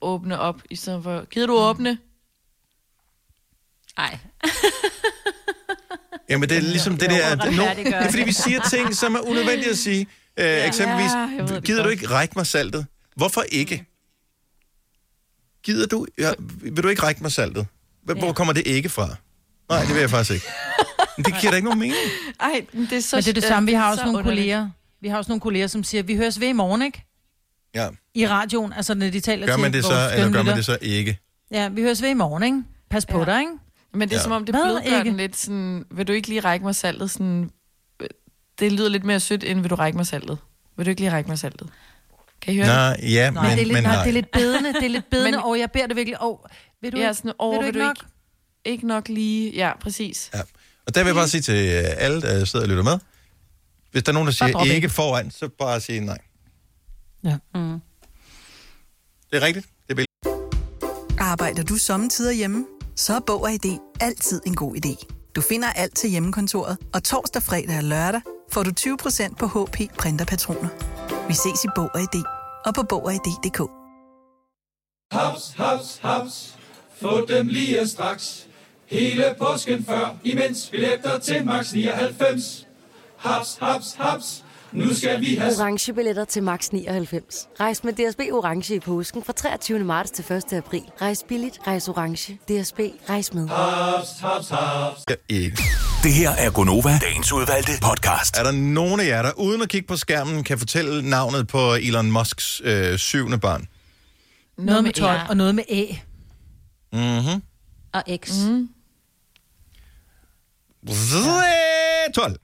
S3: Åbne op, i stedet for... Gider du åbne?
S2: Nej.
S1: Jamen, det er ligesom det
S2: Det er
S1: der... Det,
S2: overretfærdiggørende.
S1: no, det er fordi, vi siger ting, som er unødvendige at sige. Øh, eksempelvis,
S3: Ja, jeg ved det
S1: gider du
S3: godt.
S1: ikke række mig saltet? Hvorfor ikke? Gider du... Ja, vil du ikke række mig saltet? Hvor hvor kommer det ikke fra? Nej, det vil jeg faktisk ikke. Men det giver da ikke nogen mening.
S3: Ej, men det er så...
S4: Men det er det
S3: øh,
S4: samme, vi har også
S3: så
S4: nogle
S3: underligt.
S4: kolleger. Vi har også nogle kolleger, som siger, vi høres ved i morgen, ikke?
S1: Ja.
S4: I radioen, altså når de taler
S1: Gør
S4: til
S1: man det så,
S4: vores
S1: eller gør
S4: skønne
S1: man det så ikke?
S4: lytter. Ja, vi høres ved i morgen, ikke? Pas på
S3: Ja.
S4: dig, ikke?
S3: Men det er
S1: Ja.
S3: ja. som om, det
S4: Hvad,
S3: blødgør
S4: ikke?
S3: den lidt sådan... Vil du ikke lige række mig saltet? Sådan, øh, det lyder lidt mere sødt, end vil du række mig saltet? Vil du ikke lige række mig saltet? Kan I høre
S1: Nej,
S3: det?
S1: ja, men-
S4: det, er lidt,
S1: men nej.
S4: det er lidt bedende, det er lidt bedende,
S3: Men-
S4: men, og jeg beder det virkelig, og ved du,
S3: Ja,
S4: ikke-
S3: sådan, åh,
S4: vil du
S3: vil
S4: ikke
S3: du
S4: nok?
S3: Ikke nok lige, ja, præcis.
S1: Ja. Og der vil jeg bare sige til øh, alle, der sidder og lytter med, hvis der er nogen, der
S3: Bare
S1: siger
S3: drop
S1: ikke,
S3: ikke.
S1: foran, så bare sige nej.
S4: Ja. Mm.
S1: Det er rigtigt. Det er billigt.
S13: Arbejder du sommetider hjemme? Så er Bog og ID altid en god idé. Du finder alt til hjemmekontoret, og torsdag, fredag og lørdag får du 20% på HP printerpatroner. Vi ses i Bog og ID og på Bog og ID.dk.
S14: Haps, haps, haps. Få dem lige straks. Hele påsken før, imens billetter til max 99. Haps, haps, haps. Nu skal vi have...
S15: orange billetter til max 99. Rejs med DSB orange i påsken fra 23. marts til 1. april. Rejs billigt, rejs orange. DSB rejs med.
S14: Ah, Haps, haps, haps.
S1: Ikke.
S6: Det her er Gonova, dagens udvalgte podcast.
S1: Er der nogen af jer, der uden at kigge på skærmen, kan fortælle navnet på Elon Musks øh, syvende barn?
S4: Noget med tøj,
S2: Ja.
S4: og noget med æ.
S1: Mhm.
S2: Og X. Mm.
S1: 12.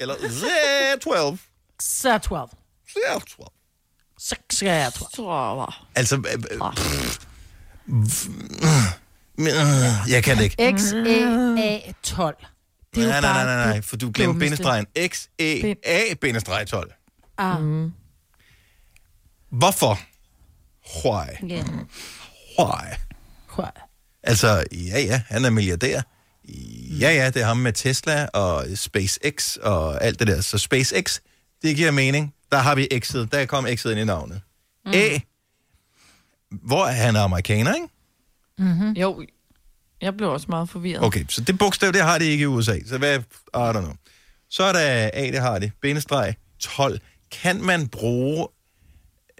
S1: Eller 12.
S4: Så er 12.
S1: Så er 12.
S4: Så skal jeg 12.
S1: Altså, øh, øh, pff.
S4: Ah.
S1: Men, øh, jeg kan det ikke.
S4: X, E, A, 12. Det er jo
S1: Nej, nej,
S4: bare
S1: nej, nej, nej,
S4: det
S1: for du glemte
S4: dummeste.
S1: bindestregen. X, E, A, bindestreg 12.
S4: Ah. Mm.
S1: Hvorfor? Why?
S2: Yeah.
S1: Why?
S4: Why?
S1: Altså, ja, ja, han er milliardær. Ja, ja, det er ham med Tesla og SpaceX og alt det der. Så SpaceX, det giver mening. Der har vi X'et. Der kom X'et ind i navnet. Mm. A. Hvor er han amerikaner, ikke?
S3: Mm-hmm. Jo, jeg blev også meget forvirret.
S1: Okay, så det bogstav, det har de ikke i USA. Så hvad, I don't know. Så er der A, det har det. Bindestreg 12. Kan man bruge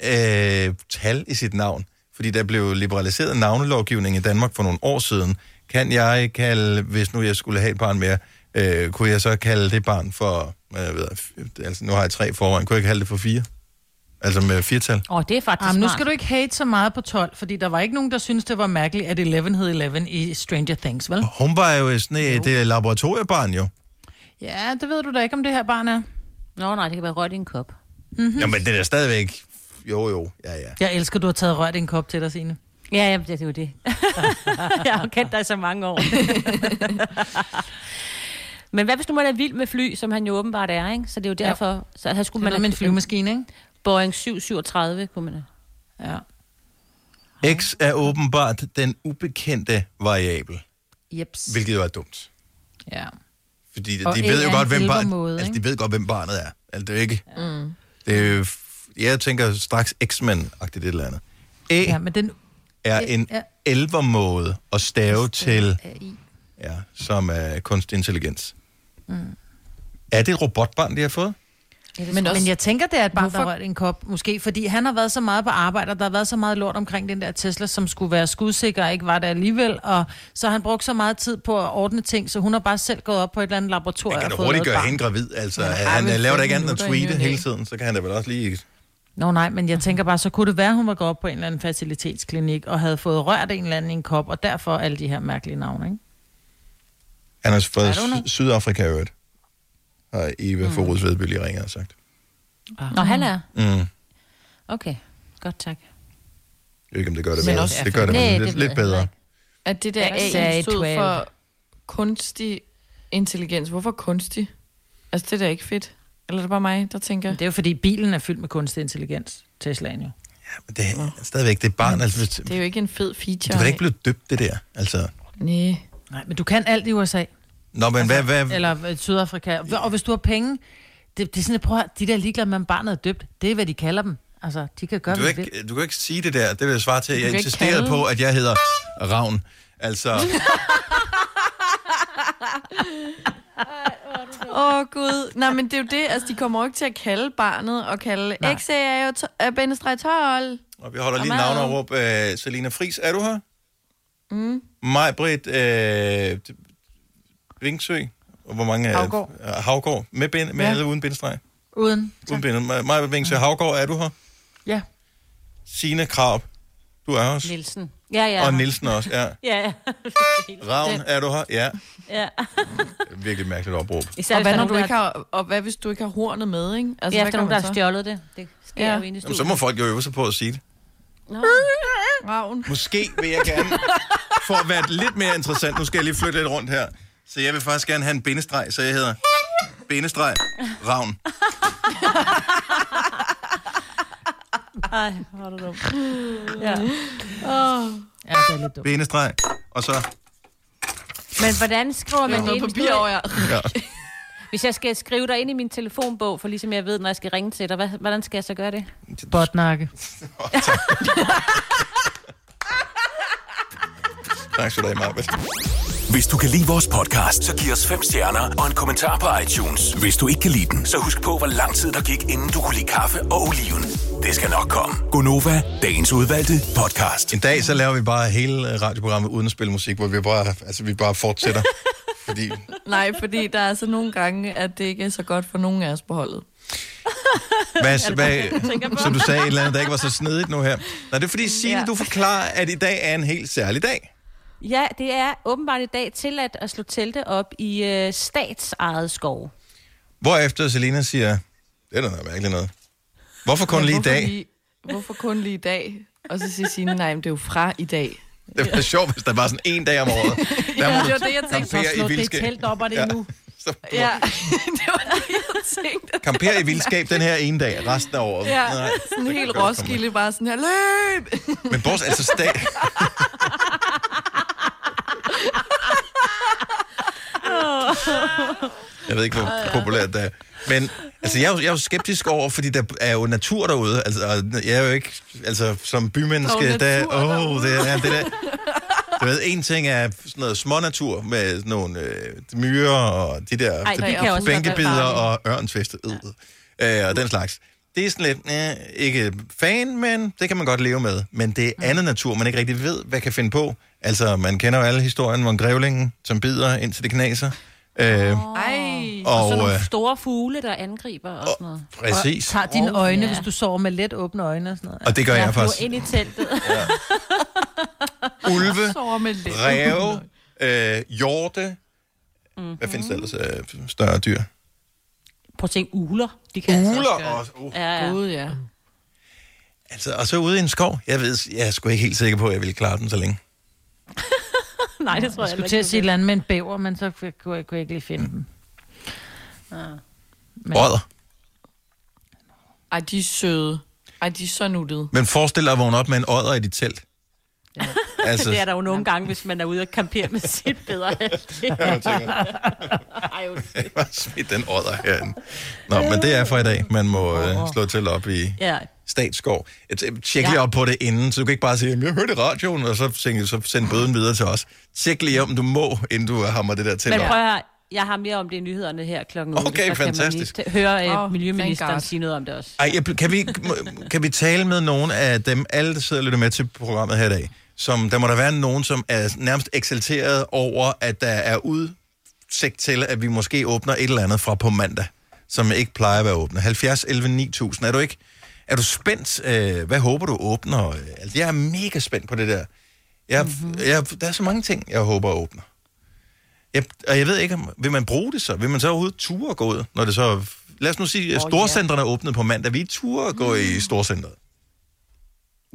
S1: øh, tal i sit navn? Fordi der blev liberaliseret navnelovgivning i Danmark for nogle år siden. Kan jeg kalde, hvis nu jeg skulle have et barn mere, øh, kunne jeg så kalde det barn for, øh, jeg ved, f- altså nu har jeg tre i forvejen, kunne jeg kalde det for fire? Altså med firtal?
S2: Åh, oh, det er faktisk
S4: Jamen, Ah, nu
S2: smart.
S4: skal du ikke hate så meget på 12, fordi der var ikke nogen, der syntes, det var mærkeligt, at 11 hed 11 i Stranger Things, vel?
S1: Hun var jo sådan et øh, laboratoriebarn jo.
S4: Ja, det ved du da ikke, om det her barn er.
S2: Nå nej, det kan være rødt i en kop.
S1: Mm-hmm. Jamen, det er da stadigvæk... Jo, jo, ja, ja.
S4: Jeg elsker, du har taget rørt i en kop til dig, Signe.
S2: Ja, jamen, det er jo det. jeg har jo kendt dig i så mange år. Men hvad hvis nu man er vild med fly, som han jo åbenbart er, ikke? Så det er jo
S4: Ja.
S2: derfor... Ja. Så her skulle
S4: Det er
S2: man
S4: noget med en flyvemaskine, ikke?
S2: Boeing 737 kunne man...
S4: Ja.
S1: X er åbenbart den ubekendte variabel,
S4: Jeps.
S1: hvilket jo er dumt.
S4: Ja.
S1: Fordi de,
S4: Og
S1: de
S4: A
S1: ved jo
S4: er
S1: godt,
S4: en
S1: hvem barnet,
S4: elvermåde,
S1: altså, de
S4: ikke?
S1: ved godt, hvem barnet er. Altså, det er jo ikke...
S4: Mm.
S1: Det er jo, f- jeg tænker straks X-Men-agtigt et eller andet. A
S4: Ja, men den...
S1: er
S4: det
S1: en
S4: er-
S1: elvermåde at stave til, ja, som er kunstig intelligens.
S4: Mm.
S1: Er det et robotbarn, de har fået?
S4: Men, også, men jeg tænker, det er et barn,
S1: Hvorfor-
S4: der rørt i en kop, måske, fordi han har været så meget på arbejde, og der har været så meget lort omkring den der Tesla, som skulle være skudsikker, og ikke var der alligevel, og så har han brugt så meget tid på at ordne ting, så hun har bare selv gået op på et eller andet laboratorium.
S1: Kan
S4: og
S1: du
S4: fået
S1: hurtigt
S4: lavet et
S1: gøre
S4: barn.
S1: hende gravid? Altså,
S4: Men
S1: han
S4: ej,
S1: øh,
S4: men
S1: laver da
S4: fem
S1: ikke andet end at
S4: minutter i ny
S1: tweete
S4: og næ.
S1: hele tiden, så kan han da vel også lige...
S4: Nå nej, men jeg tænker bare, så kunne det være, hun var gået op på en eller anden facilitetsklinik, og havde fået rørt en eller anden i en kop, og derfor alle de her mærkelige navne, ikke?
S1: Han har fra
S4: I don't know.
S1: Sy- Sydafrika i øvrigt. Har Eva mm. Forud Vedby lige ringer og sagt.
S2: Ah. Nå, han er...
S1: Mm.
S2: Okay, godt tak.
S1: Jeg ved ikke, om det gør det
S2: Men
S1: bedre.
S2: også-
S1: det gør det,
S2: Nej,
S1: men
S2: det
S1: lidt,
S2: ved
S1: lidt
S2: jeg
S1: bedre.
S3: At det der
S2: Jeg
S3: AI
S2: sagde
S3: stod
S2: 12.
S3: for kunstig intelligens. Hvorfor kunstig? Altså, det er da ikke fedt. Eller er det bare mig, der tænker...
S4: Det er jo fordi, bilen er fyldt med kunstig intelligens, Teslaen jo.
S1: Men det er stadigvæk det er barn. Altså, hvis,
S3: Det er jo ikke en fed feature.
S1: du var ikke blevet døbt, det der. Altså,
S3: Nej.
S4: Nej, men du kan alt i USA.
S1: nå, men hvad, hvad,
S4: Eller øh, Sydafrika. Og hvis du har penge, det, det er sådan, prøv at, høre, de der er ligeglade med, om barnet er døbt, det er, hvad de kalder dem. Altså, de kan gøre,
S1: du,
S4: hvad
S1: kan
S4: de vil.
S1: ikke, du kan ikke sige det der. Det vil jeg svare til.
S4: Du
S1: Jeg
S4: kan ikke
S1: insisterede
S4: kalde-
S1: på, at jeg hedder Ravn. Altså,
S3: Åh, oh, Gud. Nej, men det er jo det. Altså, de kommer jo ikke til at kalde barnet og kalde...
S1: Nej.
S3: XA er jo to- er bindestreg 12.
S1: og vi holder lige
S3: Og
S1: navn
S3: mad.
S1: over op. Øh, Selina Fris, er du her?
S3: Mm.
S1: Maj Britt øh, Vingsø. Og hvor mange er
S4: Havgård.
S1: Havgård. Med, bind, med
S4: Ja.
S1: eller uden bindestreg?
S4: Uden.
S1: Uden bindestreg. Maj Britt Vingsø. Havgård, er du her?
S4: Ja.
S1: Signe Krab. Du er også.
S2: Nielsen. Ja, ja.
S1: Og Nielsen også, ja.
S2: Ja,
S1: Ravn, er du her? Ja.
S2: ja.
S1: Virkelig mærkeligt opråb.
S3: Især, og, hvad, når du ikke har, og hvad hvis du ikke har hornet med, ikke?
S2: Altså, ja,
S3: hvad
S2: efter
S3: gør
S2: nogen, der
S3: man
S2: har
S3: så?
S2: stjålet det. Det sker
S3: Ja.
S2: ja. jo inde i
S1: Jamen,
S2: studiet.
S1: så må folk jo øve sig på at sige det.
S3: Ravn.
S1: Måske vil jeg gerne, for at være lidt mere interessant, nu skal jeg lige flytte lidt rundt her, så jeg vil faktisk gerne have en bindestreg, så jeg hedder bindestreg Ravn.
S2: Ej, hvor er du dum.
S4: Ja.
S2: Ja.
S4: Oh. Ja, det er lidt dumt.
S1: Bindestreg, og så...
S2: Men hvordan skriver man
S4: Ja.
S2: det ind?
S4: Noget
S2: hvis
S4: papir
S2: du-
S4: over, ja.
S1: Ja.
S2: Hvis jeg skal skrive dig ind i min telefonbog, for ligesom jeg ved, når jeg skal ringe til dig, hvad, hvordan skal jeg så gøre det?
S4: Botnakke.
S1: Tak skal du have, Marbet.
S6: Hvis du kan lide vores podcast, så giv os fem stjerner og en kommentar på iTunes. Hvis du ikke kan lide den, så husk på, hvor lang tid der gik, inden du kunne lide kaffe og oliven. Det skal nok komme.
S1: Gonova, dagens udvalgte podcast. I dag så laver vi bare hele radioprogrammet uden at spille musik, hvor vi bare, altså, vi bare fortsætter. fordi
S3: Nej, fordi der er altså nogle gange, at det ikke er så godt for nogen af os på holdet.
S1: Hvad, hvad,
S3: tænker på?
S1: som du sagde, et eller andet, der ikke var så snedigt nu her. Nej, det er fordi, Signe, ja.
S2: Ja.
S1: du forklarer, at i dag er en helt særlig dag.
S2: Ja, det er åbenbart i dag tilladt at slå telte op i øh, statsejet skov.
S1: Hvorefter Selina siger, det er da noget mærkeligt noget. Hvorfor kun
S3: Men
S1: lige i
S3: hvorfor
S1: dag?
S3: Lige, hvorfor kun lige i dag? Og så siger Signe, nej, men det er jo fra i dag.
S1: Det var sjovt, hvis der var sådan en dag om året. Der
S3: Ja,
S1: må
S3: det
S1: du
S3: var det, jeg tænkte.
S1: campere
S3: Så
S1: i
S3: slå det
S1: vildskab.
S3: telt op, og det er nu.
S1: Så
S3: Ja, det var det, jeg tænkte.
S1: Kampere i vildskab den her ene dag, resten af året.
S3: Ja,
S1: det
S3: sådan
S1: kan
S3: helt
S1: godt komme.
S3: Roskilde, bare sådan her, løb!
S1: Men bortset altså stat... Jeg ved ikke, hvor populært det er. Men altså, jeg, er jo, jeg er jo skeptisk over, fordi der er jo natur derude. Altså, og jeg er jo ikke... Altså, som bymenneske,
S16: Der
S1: der...
S16: er jo natur
S1: Åh, oh, det er det der... Du ved, en ting er sådan noget smånatur med sådan nogle øh, myrer og de der
S2: Ej,
S1: de,
S2: der kan også være
S1: bænkebider og
S2: farligt.
S1: ørnsfeste øh, og den slags. Det er sådan lidt, øh, ikke fan, men det kan man godt leve med. Men det
S2: Mm.
S1: er andet natur, man ikke rigtig ved, hvad kan finde på. Altså, man kender jo alle historien om grævlingen, som bider indtil det knaser. Øh,
S2: Ej.
S1: Og,
S2: Og, og så nogle
S1: øh,
S2: store fugle, der angriber og sådan noget.
S1: præcis.
S4: Tag dine
S2: Åh,
S4: øjne,
S2: ja.
S4: hvis du sover med let åbne øjne og sådan noget.
S1: Og det gør jeg
S4: flyver
S1: faktisk.
S4: ind
S2: i teltet.
S1: Ulve,
S4: Sover med lidt.
S1: ræve, øh, hjorte. Hvad findes
S2: Mhm.
S1: der ellers af større dyr?
S2: Prøv at tænke uler. De kan altså
S1: Ugler
S2: gøre det.
S1: også. Uh.
S2: Ja, ja.
S3: Gud, ja.
S1: Altså, og så ude i en skov. Jeg ved, jeg er sgu ikke helt sikker på, at jeg ville klare den så længe.
S2: Nej, det tror jeg
S4: Jeg skulle
S2: heller
S4: til at
S2: ikke,
S4: sige et eller andet med en bæver, men så kunne jeg, kunne jeg, kunne jeg ikke lige finde dem. Ah.
S1: Men... Rødder.
S3: Ej, de er søde. Ej, de er så nuttede.
S1: Men forestil dig at vågne op med en odder i dit telt. Ja. Altså,
S2: det er der jo nogle gange, hvis man er ude og kampere med sit bedre halvdel.
S1: Ja, jeg tænker.
S2: Ej, undskyld.
S1: Bare smid den odder herinde. Nå, men det er for i dag. Man må øh, slå til op i
S2: Ja.
S1: Statsskov. Jeg tæ- Tjek lige op på det inden, så du kan ikke bare sige, "Jamen, jeg hørte i radioen, og så, tænker, så send bøden videre til os. Tjek lige om du må, inden du hammer det der til
S2: Men
S1: op.
S2: prøv at høre, jeg har mere om det i nyhederne her klokken 8.
S1: Okay, fantastisk.
S2: Kan man lige t- høre
S3: Oh,
S2: oh, miljøministeren
S3: thank God.
S2: sige noget om det også.
S1: Ej, jeg, bl- kan, vi, ikke- må- kan vi tale med nogen af dem, alle der sidder og lytter med til programmet her i dag, som der må der være nogen, som er nærmest eksalteret over, at der er udsigt til, at vi måske åbner et eller andet fra på mandag, som ikke plejer at være åbne. 70, 11, 9000. Er du ikke? Er du spændt? Øh, hvad håber du åbner? Øh, Altså, jeg er mega spændt på det der. Jeg, mm-hmm. jeg, der er så mange ting, jeg håber åbner. Jeg, og jeg ved ikke, om, vil man bruge det så? Vil man så overhovedet ture at gå ud, når det så... Lad os nu sige,
S4: Åh,
S1: at
S4: ja.
S1: storcentrene er åbnet på mandag. Vi ture at gå i storcentret.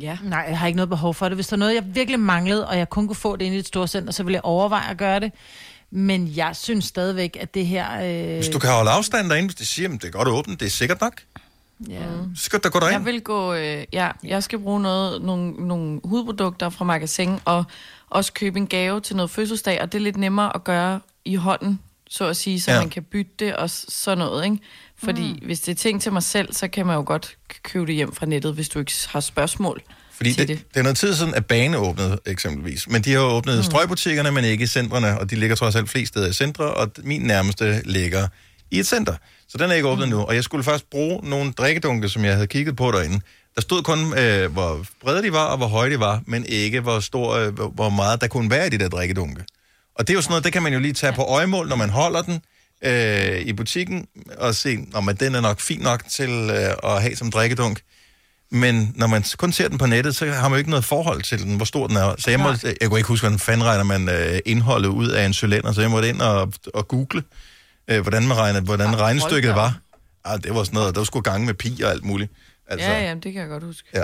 S4: Ja. Nej, jeg har ikke noget behov for det. Hvis der er noget, jeg virkelig manglede, og jeg kun kunne få det inde i et storcenter, så ville jeg overveje at gøre det. Men jeg synes stadigvæk, at det her... Øh...
S1: Hvis du kan holde afstand derinde, hvis de siger, at det er godt åbent, det er sikkert nok,
S3: Ja.
S1: så skal du da gå derind.
S3: Jeg vil gå, øh, ja, jeg skal bruge noget, nogle, nogle hudprodukter fra magasin, og også købe en gave til noget fødselsdag, og det er lidt nemmere at gøre i hånden, så at sige, så
S1: Ja.
S3: ja. man kan bytte det og s- sådan noget, ikke? Fordi mm. hvis det er ting til mig selv, så kan man jo godt k- købe det hjem fra nettet, hvis du ikke s- har spørgsmål.
S1: Fordi det, det. er noget tid siden, at bane åbnede eksempelvis. Men de har jo åbnet mm. strøgbutikkerne, men ikke i centrene, og de ligger trods alt flest steder i centre, og d- min nærmeste ligger i et center. Så den er ikke åbnet mm. nu, og jeg skulle først bruge nogle drikkedunke, som jeg havde kigget på derinde. Der stod kun, øh, hvor brede de var, og hvor høje de var, men ikke, hvor, stor, øh, hvor- hvor meget der kunne være i de der drikkedunke. Og det er jo sådan noget, det kan man jo lige tage på øjemål, når man holder den øh, i butikken, og se, om den er nok fin nok til øh, at have som drikkedunk. Men når man kun ser den på nettet, så har man jo ikke noget forhold til den, hvor stor den er. Så jeg, må, jeg kunne ikke huske, hvordan fanden regner man øh, indholdet ud af en cylinder, så jeg måtte ind og, og google, øh, hvordan, man regner, hvordan ja, regnestykket var. Ah, det var sådan noget, der skulle gange med pi og alt muligt. Altså,
S4: Ja, ja, det kan jeg godt huske.
S1: ja.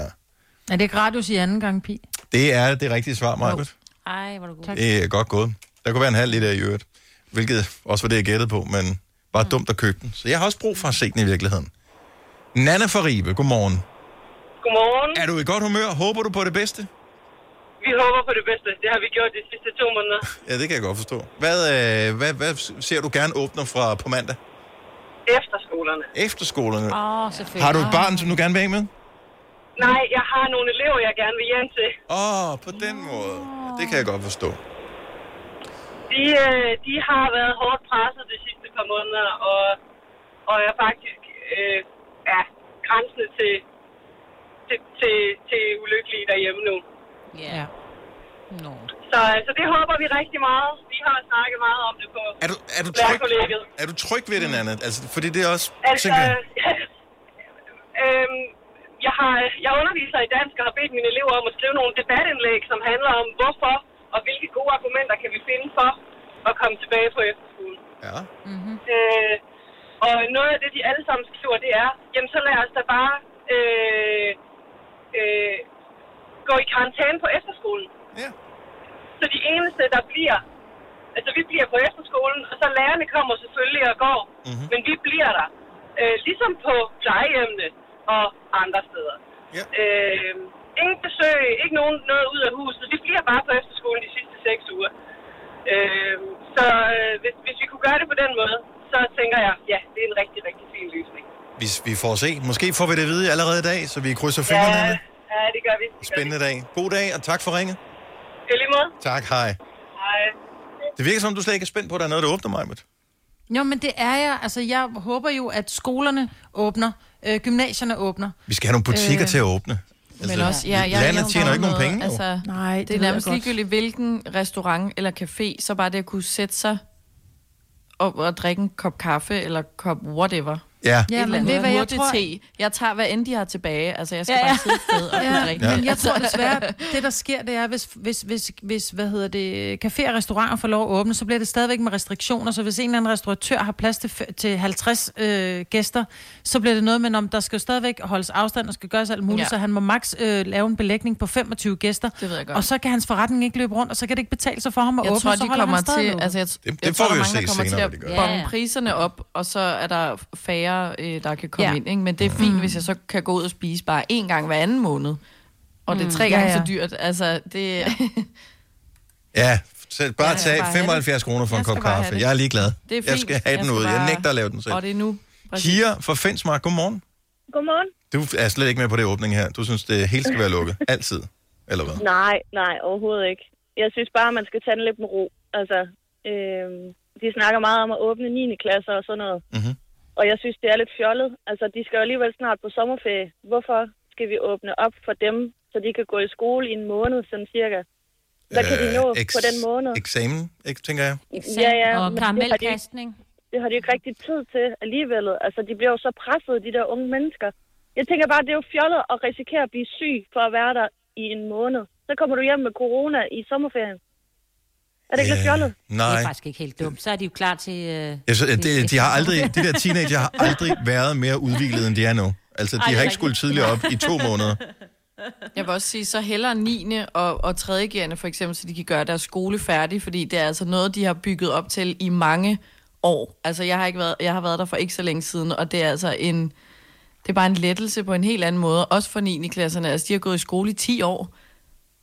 S4: Er det ikke radius i anden gang pi?
S1: Det er det rigtige svar, Marcus.
S4: Ej, hvor er du god.
S1: Det er godt gået. Der kunne være en halv liter i øvrigt, hvilket også var det, jeg gættede på, men bare dumt at købe den. Så jeg har også brug for at se den i virkeligheden. Nana fra Ribe, godmorgen.
S8: Godmorgen.
S1: Er du i godt humør? Håber du på det bedste?
S8: Vi håber på det bedste. Det har vi gjort de sidste to måneder.
S1: Ja, det kan jeg godt forstå. Hvad, øh, hvad, hvad ser du gerne åbner fra på mandag?
S8: Efterskolerne.
S1: Efterskolerne.
S8: Åh, oh, selvfølgelig.
S1: Øh, Har du et barn, som du gerne vil af med?
S8: Nej, jeg har nogle elever, jeg gerne vil hjem til.
S1: Åh, oh, på den måde. Det kan jeg godt forstå.
S8: De, øh, de har været hårdt presset de sidste par måneder, og, og er faktisk øh, ja, grænsende til, til, til, til ulykkelige derhjemme nu.
S4: Ja.
S8: Så, øh, så det håber vi rigtig meget. Vi har snakket meget om det på
S1: Er du, er du tryg,
S8: lærerkollegiet.
S1: er du tryg ved den, Anna? Altså, fordi det er også...
S8: Altså,
S1: tænker jeg-
S8: øhm, jeg, har, jeg underviser i dansk og har bedt mine elever om at skrive nogle debatindlæg, som handler om hvorfor og hvilke gode argumenter kan vi finde for at komme tilbage på efterskolen.
S1: Ja.
S8: Mm-hmm. Øh, og noget af det, de alle sammen skriver, det er, jamen så lad os da bare øh, øh, gå i karantæne på efterskolen.
S1: Ja.
S8: Så de eneste, der bliver, altså vi bliver på efterskolen, og så lærerne kommer selvfølgelig og går,
S1: Mhm.
S8: mm-hmm. men vi bliver der. Øh, ligesom på plejehjemmene og andre steder.
S1: Ja.
S8: Øh, ingen besøg, ikke nogen noget ud af huset. Vi bliver bare på efterskolen de sidste seks uger. Øh, så øh, hvis, hvis vi kunne gøre det på den måde, så tænker jeg, ja, det er en rigtig, rigtig fin løsning.
S1: Hvis vi får se. Måske får vi det at vide allerede i dag, så vi krydser fingrene. Anna.
S8: ja, det gør vi. Det gør
S1: Spændende dag. God dag, og tak for ringet.
S8: vi. I lige måde.
S1: Tak, hej.
S8: Hej.
S1: Det virker som, du slet ikke er spændt på, at der er noget, der åbner mig. Med.
S4: Jo, men det er jeg. Altså, jeg håber jo, at skolerne åbner, øh, gymnasierne åbner.
S1: Vi skal have nogle butikker øh,
S4: Øh,
S1: til at åbne. Altså,
S4: men også- ja, jeg-
S1: landet
S4: jeg-
S1: tjener jo ikke nogen penge. Altså,
S3: Altså,
S4: Nej,
S3: det,
S4: ved
S3: det er
S4: jeg
S3: nærmest
S4: godt.
S3: ligegyldigt, hvilken restaurant eller café, så bare det at kunne sætte sig og, og drikke en kop kaffe eller kop whatever.
S1: Ja.
S4: Ja,
S3: Ja,
S4: men
S3: men
S4: ved I
S3: ved
S4: hvad, jeg
S3: jeg tror... Te. Jeg tager, hvad end de har tilbage. Altså, jeg skal ja, ja. bare sidde et sted og kunne drikke.
S4: ja.
S3: det.
S4: Men jeg tror
S3: Altså,
S4: desværre, det der sker, det er, hvis, hvis, hvis, hvis hvad hedder det, caféer og restauranter får lov at åbne, så bliver det stadigvæk med restriktioner. Så hvis en eller anden restauratør har plads til, f- til 50 øh, gæster, så bliver det noget med, om der skal jo stadigvæk holdes afstand og skal gøres alt muligt, ja.
S3: Ja.
S4: så han må maks øh, lave en belægning på 25 gæster. Det
S3: ved jeg godt.
S4: Og så kan hans forretning ikke løbe rundt, og så kan det ikke betale sig for ham at
S3: Jeg
S4: åbne,
S3: tror,
S4: så
S3: de
S4: holder
S3: kommer
S4: han stadig
S3: til...
S4: lukket.
S3: Altså, jeg,
S1: det,
S3: jeg
S1: får
S3: tror,
S1: vi
S3: der
S1: jo
S3: er mange,
S1: se
S3: der kommer
S1: senere,
S3: til
S1: hvad
S3: at
S1: de gør.
S3: bombe
S1: Ja.
S3: priserne op, og så er der færre, øh, der kan komme
S4: Ja.
S3: ja. ind. Ikke? Men det er fint, mm. hvis jeg så kan gå ud og spise bare én gang hver anden måned. Og det er
S4: Mm.
S3: tre
S4: Ja,
S3: gange
S4: ja.
S3: så dyrt. Altså, det... Ja.
S1: Ja, så bare
S3: Jeg skal
S1: tag
S3: bare have
S1: 75 kroner for en kop
S3: skal bare have
S1: kaffe.
S3: det.
S1: Jeg er ligeglad.
S3: Det er fint.
S1: Jeg skal have den
S3: Jeg
S1: ud.
S3: skal
S1: Jeg
S3: bare-
S1: nægter at lave den selv.
S3: Og det er nu. Præcis.
S1: Kira fra Fensmark, godmorgen.
S16: Godmorgen.
S1: Du er slet ikke med på det åbning her. Du synes, det hele skal være lukket. Altid. Eller hvad?
S16: Nej, nej, overhovedet ikke. Jeg synes bare, man skal tage den lidt med ro. Altså, øh, de snakker meget om at åbne 9. klasser og sådan noget.
S1: Mm-hmm.
S16: Og jeg synes, det er lidt fjollet. Altså, de skal jo alligevel snart på sommerferie. Hvorfor skal vi åbne op for dem, så de kan gå i skole i en måned, sådan cirka? Hvad kan de nå
S1: Øh, eks-
S16: på den måned?
S1: Eksamen, ikke, tænker jeg.
S16: Ja, ja.
S2: Og
S16: men det har de ikke-
S2: karamelkastning.
S16: Det har de ikke rigtig tid til alligevel. Altså, de bliver jo så presset, de der unge mennesker. Jeg tænker bare, det er jo fjollet at risikere at blive syg for at være der i en måned. Så kommer du hjem med corona i sommerferien. Er det ikke lidt
S1: Ja.
S16: fjollet?
S1: Nej.
S2: Det er faktisk ikke helt dumt. Så er de jo klar til... Øh,
S1: Jeg synes, at
S2: til-
S1: det, de, har aldrig, de der teenager har aldrig været mere udviklet, end de er nu. Altså, de
S3: Ej, det er
S1: har ikke
S3: rigtigt.
S1: skulle tidligere op i to måneder.
S3: Jeg vil også sige, så hellere 9. og, og 3. gerne for eksempel, så de kan gøre deres skole færdig, fordi det er altså noget, de har bygget op til i mange år. Altså, jeg har, ikke været, jeg har været der for ikke så længe siden, og det er altså en... Det er bare en lettelse på en helt anden måde, også for 9. klasserne. Altså, de har gået i skole i 10 år, og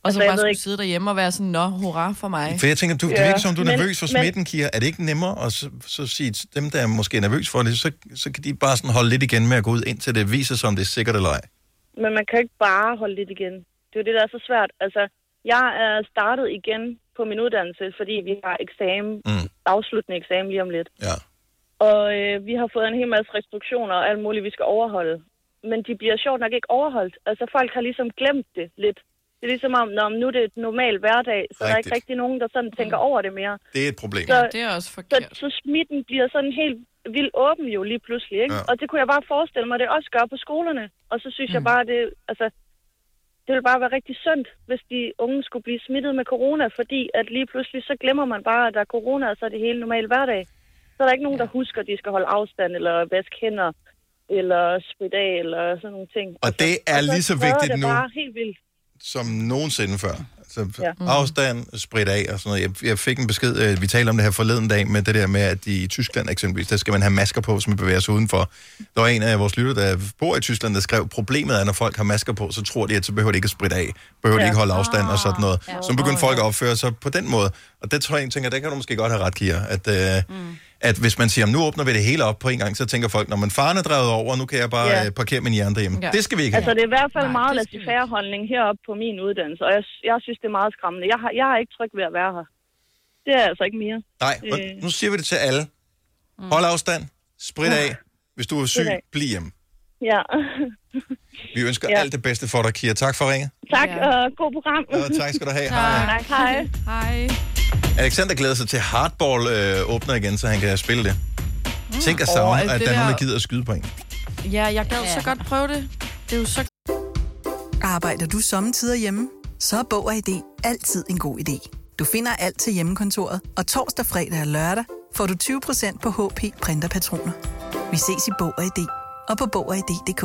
S16: Altså,
S3: altså, så
S16: jeg
S3: bare
S16: ved
S3: skulle
S16: ikke-
S3: sidde derhjemme og være sådan, nå, hurra for mig.
S1: For jeg tænker, du, det virker som, du er
S3: Men-
S1: nervøs for
S3: men-
S1: smitten, Kira. Er det ikke nemmere at så, så sige, til dem, der er måske nervøs for det, så, så kan de bare sådan holde lidt igen med at gå ud, indtil det viser sig, om det er sikkert eller ej.
S16: Men man kan jo ikke bare holde lidt igen. Det er jo det, der er så svært. Altså, jeg er startet igen på min uddannelse, fordi vi har eksamen,
S1: mm.
S16: afsluttende eksamen lige om lidt.
S1: Ja.
S16: Og øh, vi har fået en hel masse restriktioner og alt muligt, vi skal overholde. Men de bliver sjovt nok ikke overholdt. Altså, folk har ligesom glemt det lidt. Det er ligesom om, når nu er det et normal hverdag, så der er
S1: Rigtigt. Mm.
S16: ikke rigtig nogen, der sådan tænker over det mere.
S1: Det er et problem.
S16: Så,
S3: det er også
S16: forkert. Så, så smitten bliver sådan helt vildt åben jo lige pludselig, ikke?
S1: Ja.
S16: Ja. Og det kunne jeg bare forestille mig, det også gør på skolerne. Og så synes mm. jeg bare, det, altså, det ville bare være rigtig sundt, hvis de unge skulle blive smittet med corona, fordi at lige pludselig så glemmer man bare, at der er corona, og så er det hele normal hverdag. Så er der ikke nogen, der husker, at de skal holde afstand, eller vaske hænder, eller spritte af, eller sådan nogle ting.
S1: Og det er lige så vigtigt
S16: det
S1: nu,
S16: bare helt vildt.
S1: som nogensinde før. Altså,
S16: Ja.
S1: ja. afstand, spredt af og sådan noget. Jeg, jeg fik en besked, øh, vi talte om det her forleden dag, med det der med, at i Tyskland eksempelvis, der skal man have masker på, hvis man bevæger sig udenfor. Der var en af vores lytter, der bor i Tyskland, der skrev, problemet er, når folk har masker på, så tror de, at så behøver de ikke at spritte af, behøver de
S17: Ja.
S1: ikke holde afstand og sådan noget. Så begyndte folk at opføre sig på den måde. Og det tror jeg, jeg tænker, der kan du måske godt have ret, Kira, at... Øh, at hvis man siger, "Jamen, nu åbner vi det hele op på en gang, så tænker folk, når man faren er drevet over, nu kan jeg bare
S16: Ja.
S1: ja. parkere min jern derhjemme. Ja. Det skal vi ikke have.
S16: Altså, det er i hvert fald Nej, meget laissez faire holdning heroppe på min uddannelse, og jeg, jeg synes, det er meget skræmmende. Jeg, har, jeg er ikke tryg ved at være her. Det er jeg altså ikke mere.
S1: Nej, og
S16: Øh. Mm.
S1: nu siger vi det til alle. Hold afstand, sprit af. Hvis du er syg,
S16: af.
S1: bliv hjemme.
S16: Ja.
S1: Vi ønsker
S16: Ja.
S1: ja. alt det bedste for dig, Kira. Tak for ringet.
S16: tak, og god program.
S1: Ja, tak skal du have. Hej.
S16: Tak. Hej. Hej.
S1: Alexander glæder sig til hardball øh, åbner igen, så han kan spille det. Mm. Tænk at savne,
S3: Åh,
S1: oh,
S3: altså
S1: at
S3: det
S1: der er nogen, der
S3: der-
S1: gider at skyde på en.
S3: Ja, jeg gad ja. så godt prøve det. Det er jo så...
S13: Arbejder du sommetider hjemme? Så er Bog og ID altid en god idé. Du finder alt til hjemmekontoret, og torsdag, fredag og lørdag får du 20% på HP Printerpatroner. Vi ses i Bog og ID og på Bog og ID.dk.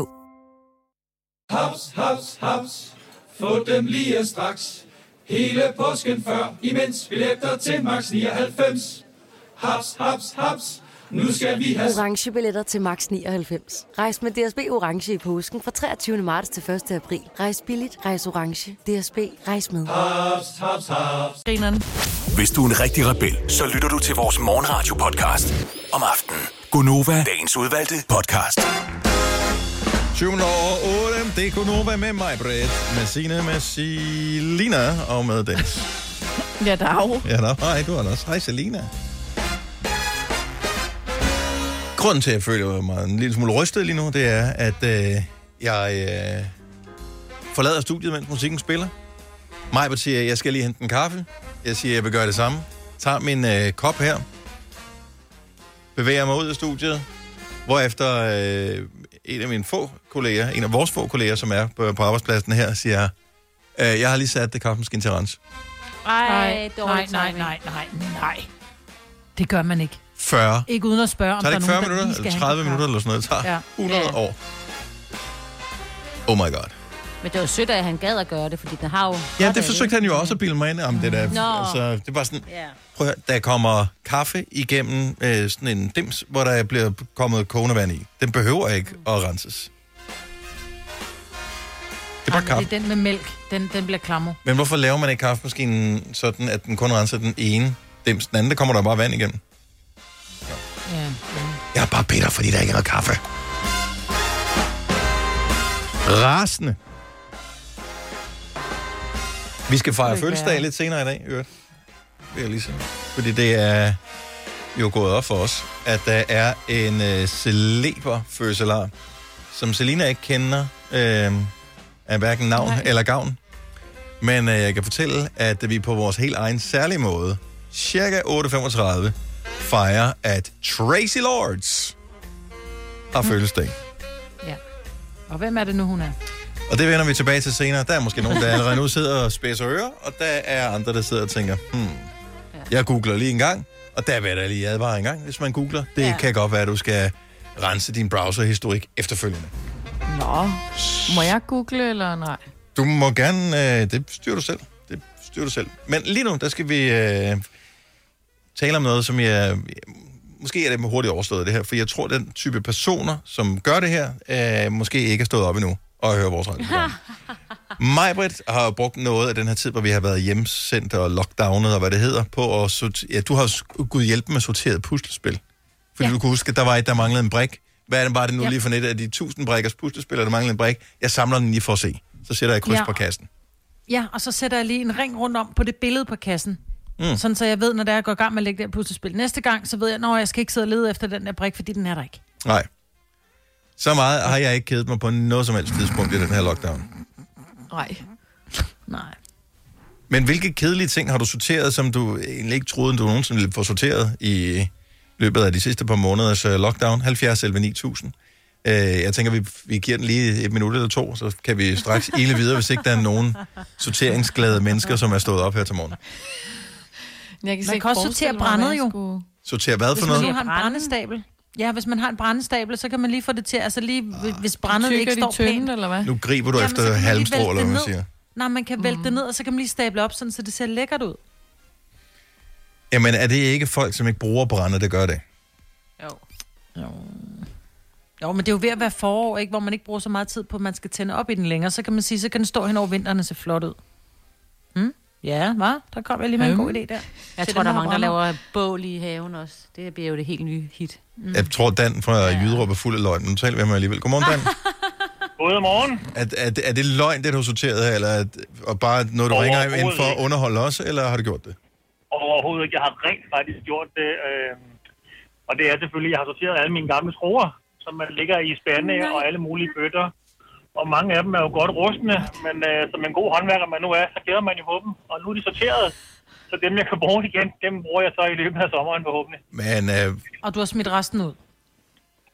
S14: Haps, haps, haps. Få dem lige straks. Hele påsken før, imens billetter til max 99. Haps, haps, haps. Nu skal vi have...
S15: orange billetter til max 99. Rejs med DSB orange i påsken fra 23. marts til 1. april. Rejs billigt, rejs orange. DSB rejs med.
S14: Ah. Haps, haps, haps.
S3: Grineren.
S6: Hvis du er en rigtig rebel, så lytter du til vores morgenradio-podcast om aftenen. Gunova, dagens udvalgte podcast.
S1: 20 over 8. Det er Gunova med mig, Britt. Med Signe, med Selina og med Dennis.
S3: Ja, der er jo.
S1: Ja, da. Hej, du er der også. Hej, Selina. Grunden til, at jeg føler mig en lille smule rystet lige nu, det er, at øh, jeg øh, forlader studiet, mens musikken spiller. Majbert siger, at jeg skal lige hente en kaffe. Jeg siger, at jeg vil gøre det samme. Tager min øh, kop her. Bevæger mig ud af studiet. Hvorefter øh, en af mine få kolleger, en af vores få kolleger, som er på, på arbejdspladsen her, siger, øh, jeg har lige sat det kaffemaskine til rens.
S2: Ej,
S4: nej,
S2: dårlig
S4: nej,
S2: timing.
S4: nej, nej, nej. Det gør man ikke.
S1: 40
S4: Ikke uden at spørge, om
S1: Tager det
S4: der er
S1: ikke 40
S4: nogen,
S1: minutter,
S4: der lige skal
S1: eller
S4: have
S1: 30
S4: en
S1: minutter, eller sådan noget? Det tager
S2: Ja.
S1: 100
S2: Ja.
S1: år. Oh my god.
S2: Men det var sødt, at han gad at gøre det, fordi den har jo...
S1: Ja, det forsøgte han jo også at bilde mig ind om, det der.
S2: Nå.
S1: Altså, det var sådan, prøv at, høre, der kommer kaffe igennem øh, sådan en dims, hvor der bliver kommet kogende i. Den behøver ikke at renses. Det er bare
S4: Jamen,
S1: kaffe.
S4: det er den med mælk. Den, den bliver klammer.
S1: Men hvorfor laver man ikke kaffemaskinen sådan, at den kun renser den ene dims? Den anden, der kommer der bare vand igennem.
S4: Ja.
S1: Jeg er bare bitter, fordi der ikke er noget kaffe. Rasende. Vi skal fejre
S17: Det kan
S1: fødselsdag
S17: jeg.
S1: lidt senere i dag, i øvrigt. Vil jeg lige sige. Fordi det er jo gået op for os, at der er en øh, celeber fødselar, som Selina ikke kender øh, af hverken navn Nej. eller gavn. Men øh, jeg kan fortælle, at vi på vores helt egen særlige måde, cirka 8.35, fejrer, at Tracy Lords har fødselsdag.
S4: ja. Og hvem er det nu, hun er?
S1: Og det vender vi tilbage til senere. Der er måske nogen, der allerede nu sidder og spidser ører, og der er andre, der sidder og tænker, hmm, jeg googler lige en gang, og der vil jeg da lige advare en gang, hvis man googler. Det ja. kan godt være, at du skal rense din browserhistorik efterfølgende.
S3: Nå, må jeg google, eller nej?
S1: Du må gerne, øh, det styrer du selv. Det styrer du selv. Men lige nu, der skal vi øh, tale om noget, som jeg... Måske er det hurtigt overstået, det her, for jeg tror, den type personer, som gør det her, øh, måske ikke er stået op endnu og hører vores radio. Majbrit har brugt noget af den her tid, hvor vi har været hjemsendt og lockdownet og hvad det hedder, på at sortere... Ja, du har s- gud hjælpe med sorteret puslespil. Fordi ja. du kunne huske, at der var et, der manglede en brik. Hvad er det, var det nu
S17: Ja.
S1: ja. lige for net af de 1000 brikkers puslespil, og der manglede en brik? Jeg samler den lige for at se. Så sætter jeg et kryds
S4: Ja.
S1: ja. på kassen.
S4: Ja, og så sætter jeg lige en ring rundt om på det billede på kassen.
S1: Mm.
S4: Mm. Sådan så jeg ved, når det er, jeg går i gang med at lægge det her puslespil. Næste gang, så ved jeg, når jeg skal ikke sidde og lede efter den der brik, fordi den er der ikke.
S1: Nej. Så meget har jeg ikke kedet mig på noget som helst tidspunkt i den her lockdown.
S4: Nej. Nej.
S1: Men hvilke kedelige ting har du sorteret, som du egentlig ikke troede, du nogensinde ville få sorteret i løbet af de sidste par måneders øh, lockdown? 70 11 9000. Øh, Jeg tænker, vi, vi giver den lige et minut eller to, så kan vi straks ile videre, hvis ikke der er nogen sorteringsglade mennesker, som er stået op her til morgen.
S3: Jeg kan,
S4: Man kan også sortere brændet jo.
S1: Sorter hvad for
S4: Hvis man nu
S1: noget?
S4: har en brændestabel. Ja, hvis man har en brændestabel, så kan man lige få det til, altså lige,
S1: Ah,
S4: hvis brændet
S3: Tykker
S4: ikke
S3: de
S4: står
S3: tynde,
S4: pænt.
S3: eller hvad?
S1: Nu griber du
S4: Jamen, så
S1: efter
S4: kan man lige
S1: halmstrå,
S4: vælte
S1: eller hvad
S4: det
S1: man
S4: ned.
S1: siger. Mm.
S4: Nej, man kan vælte det ned, og så kan man lige stable op, sådan, så det ser lækkert ud.
S1: Jamen, er det ikke folk, som ikke bruger brænde, der gør det?
S4: Jo, men det er jo ved at være forår, ikke? hvor man ikke bruger så meget tid på, at man skal tænde op i den længere. Så kan man sige, så kan den stå hen over vinteren og se flot ud. Hmm? Ja, hva? Der kom jeg lige med en
S2: Øhm.
S4: god idé der.
S2: Jeg
S4: Til
S2: tror,
S4: dem,
S2: der er mange,
S4: brænder.
S2: der laver bål i haven også. Det bliver jo det helt nye hit.
S1: Mm. Jeg tror, Dan fra ja. Jyderup er fuld af løgn. Nu taler vi med ham alligevel. Godmorgen, Dan.
S17: Godmorgen.
S1: Er, er, det- er det løgn, det du har sorteret her, eller er det, og bare noget, du ringer ind for at underholde os, eller har du gjort det?
S17: Overhovedet ikke. Jeg har rent faktisk gjort det. Øh, og det er selvfølgelig, jeg har sorteret alle mine gamle skruer, som man ligger i spande
S18: Nej.
S17: og alle mulige bøtter. Og mange af dem er jo godt rustne, men øh, som en god håndværker man nu er, så glæder man jo på dem. Og nu er de sorteret, så dem jeg kan bruge igen, dem bruger jeg så i løbet af sommeren forhåbentlig.
S1: Men øh,
S4: Og du har smidt resten ud.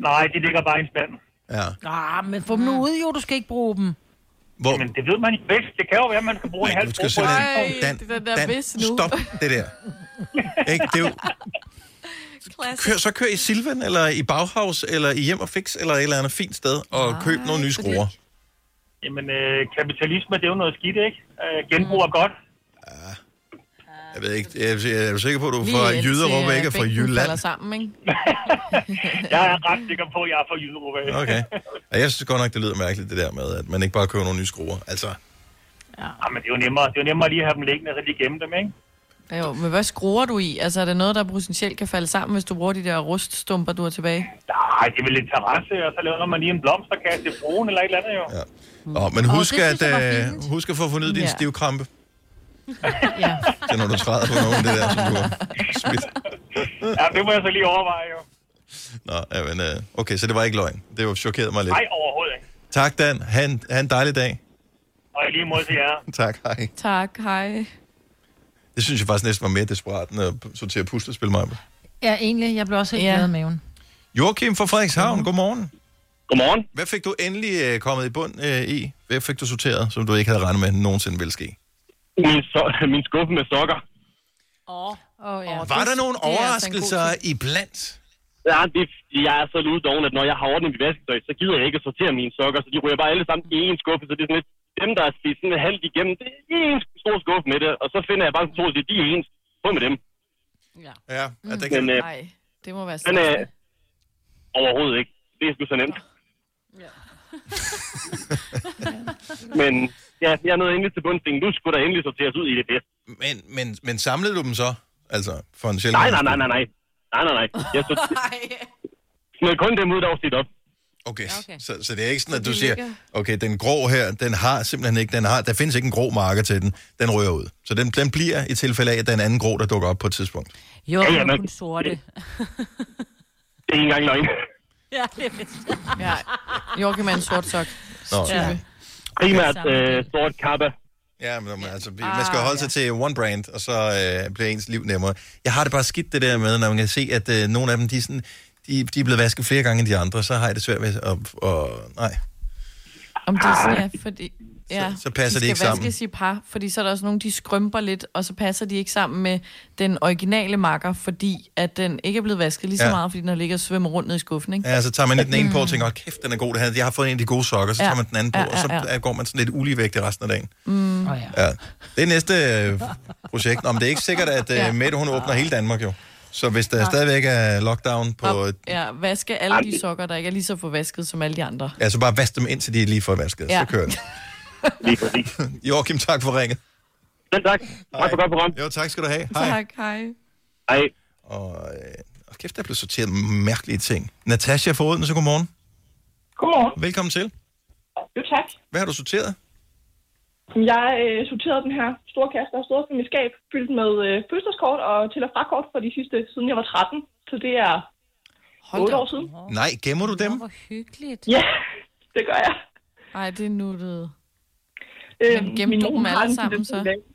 S17: Nej, de ligger bare i en spand.
S1: ja.
S4: Ah, men få dem nu ud, jo, du skal ikke bruge dem.
S1: Hvor...
S17: Men det ved man ikke bedst. Det kan jo være, man skal bruge en halv
S1: Du skal
S17: på
S1: simpelthen...
S17: et tidspunkt.
S1: Dan, Dan, stop det der. Ikke? Det er jo... Kør, så kør i Silvan, eller i Bauhaus, eller i Hjem og Fix, eller et eller andet fint sted, og Nej, køb nogle nye skruer.
S17: Jamen, øh, kapitalisme, det er jo noget skidt, ikke? Øh, genbrug er godt.
S1: Jeg ved ikke, jeg er, jeg er sikker på, at du er
S17: Lige
S1: fra
S17: indtil,
S1: Jyderup,
S17: øh,
S1: ikke er fra
S17: bænken
S1: Jylland.
S3: Eller sammen, ikke?
S17: Jeg er ret sikker på, at jeg er fra Jyderup. af.
S1: Okay. Og jeg synes godt nok, det lyder mærkeligt, det der med, at man ikke bare køber nogle nye skruer. Altså,
S17: Ja, Ah, men det er jo nemmere, det er jo nemmere lige at have dem liggende, og så lige gemme dem, ikke?
S3: Ja, Jo, men hvad skruer du i? Altså, er det noget, der potentielt kan falde sammen, hvis du bruger de der ruststumper, du har tilbage?
S17: Nej, det er vel lidt terrasse, og så laver man lige en blomsterkasse i fruen eller et eller andet, jo.
S1: Ja. Nå, men
S17: Åh,
S1: husk,
S17: det
S1: at,
S17: synes jeg var
S1: øh, husk at få fornyet din
S17: Ja.
S1: stivkrampe.
S4: ja.
S1: Det er, når du træder på nogen, det der, som du har smidt.
S17: ja, det må jeg så lige overveje, jo.
S1: Nå, ja, men, øh, okay, så det var ikke løgn. Det var chokeret mig lidt.
S17: Nej, overhovedet ikke.
S1: Tak, Dan. Ha' en, ha en dejlig dag.
S17: Og i lige mod til jer.
S1: Tak, hej.
S3: Tak, hej.
S1: Det synes jeg faktisk næsten var mere desperat, end at sortere puslespil mig.
S4: Ja, egentlig. Jeg blev også helt ja. glad i maven.
S1: Joachim fra
S18: Mhm.
S1: Frederikshavn, godmorgen.
S17: Godmorgen.
S1: Hvad fik du endelig øh, kommet i bund øh, i? Hvad fik du sorteret, som du ikke havde regnet med, nogensinde ville ske?
S18: Min, so- min skuffe med sokker.
S4: Oh, ja.
S1: Var der nogle
S7: altså
S1: overraskelser iblandt?
S18: Ja, det, jeg er så luddoven, at når jeg har ordnet mit vasketøj, så gider jeg ikke at sortere mine sokker, så de ryger bare alle sammen i en skuffe, så det er sådan lidt, dem, der er slidt sådan halvt igennem, det er en stor skuffe med det, og så finder jeg bare to, at de er ens. På med dem.
S1: Ja,
S18: ja det kan... Men, øh,
S3: Mm. Nej, det må være
S18: men øh,
S3: sådan.
S18: overhovedet ikke. Det er sgu så nemt. Men ja, jeg er nået endelig til bundsting. Nu skulle der endelig sorteres ud i det bedste.
S1: Men, men, men samlede du dem så? Altså, for en sjældent...
S18: Nej, nej, nej, nej, nej. Nej, nej, nej. Jeg så... Smed kun dem ud, der var slidt op.
S1: Okay. okay. Så, så det er ikke sådan, at du
S18: de
S1: siger,
S18: ligger-
S1: okay, den grå her, den har simpelthen ikke, den har, der findes ikke en grå marker til den, den rører ud. Så den, den bliver i tilfælde af, at den anden grå, der dukker op på et tidspunkt.
S2: Jo,
S1: Ja, ja,
S2: ja,
S1: men-
S2: kun sorte.
S18: Det er ikke engang løgn.
S2: ja, det er fedt.
S3: ja. Joachim er en sort sok.
S1: Nå,
S3: type.
S1: ja.
S18: Primært øh, sort kappa.
S1: Ja, men man- altså,
S3: Ah,
S1: man skal holde sig til one brand, og så øh, bliver ens liv nemmere. Jeg har det bare skidt det der med, når man kan se, at øh, nogle af dem, de er, sådan, de, de er blevet vasket flere gange end de andre, så har jeg det svært med at... Og, nej.
S3: Om det er sådan, ja, fordi... Ja,
S1: så passer de
S3: de
S1: ikke
S3: skal
S1: sammen.
S3: vaskes i par, fordi så er der også nogle, de skrømper lidt, og så passer de ikke sammen med den originale makker, fordi at den ikke er blevet vasket lige så
S1: Ja.
S3: ja. meget, fordi den har ligget og svømmer rundt ned i skuffen, ikke?
S1: Ja, altså- så tager man lidt den ene på og tænker, "Åh, kæft, den er god, det her. jeg har fået en af de gode sokker, så
S3: Ja.
S1: tager man den anden på,
S3: Ja,
S1: og så
S3: ja, ja.
S1: øh, går man sådan lidt uligevægtig resten af dagen.
S3: Mm. Oh,
S1: Ja. Det er næste øh, projekt. Nå, men det er ikke sikkert, at øh, Mette, hun åbner hele Danmark jo. Så hvis der
S3: Nej.
S1: stadigvæk er lockdown på... øh,
S3: ja. ja, vaske alle de sokker, der ikke er lige så forvasket som alle de andre.
S1: Ja, så Altså, bare vask dem ind, til de er lige får vasket. Ja.
S3: Ja.
S1: Så kører det.
S18: Lige præcis.
S1: Joachim, tak for ringet.
S18: Selv tak.
S1: Tak for godt program. Jo, tak skal du have. Hej.
S3: Tak, hej.
S18: Hej.
S1: Og, øh, og kæft, der blev sorteret mærkelige ting. Natasha fra Odense, godmorgen.
S19: Godmorgen.
S1: Velkommen til.
S19: Jo, tak.
S1: Hvad har du sorteret?
S19: Jamen, Jeg øh, sorterede den her store kasse, der har stået på mit skab, fyldt med øh, fødselskort og til- og frakort for de sidste, siden jeg var 13. Så det er
S3: Hold
S19: 8
S3: da
S19: år siden.
S1: Nej, gemmer du dem?
S19: Hvor hyggeligt. Ja, det gør jeg.
S3: Ej, det er nuttet.
S19: Øhm,
S3: Men gemte
S19: min
S3: du
S19: mor
S3: dem
S19: har
S3: alle
S19: en
S3: sammen,
S19: tendens til
S3: så?
S19: at lave-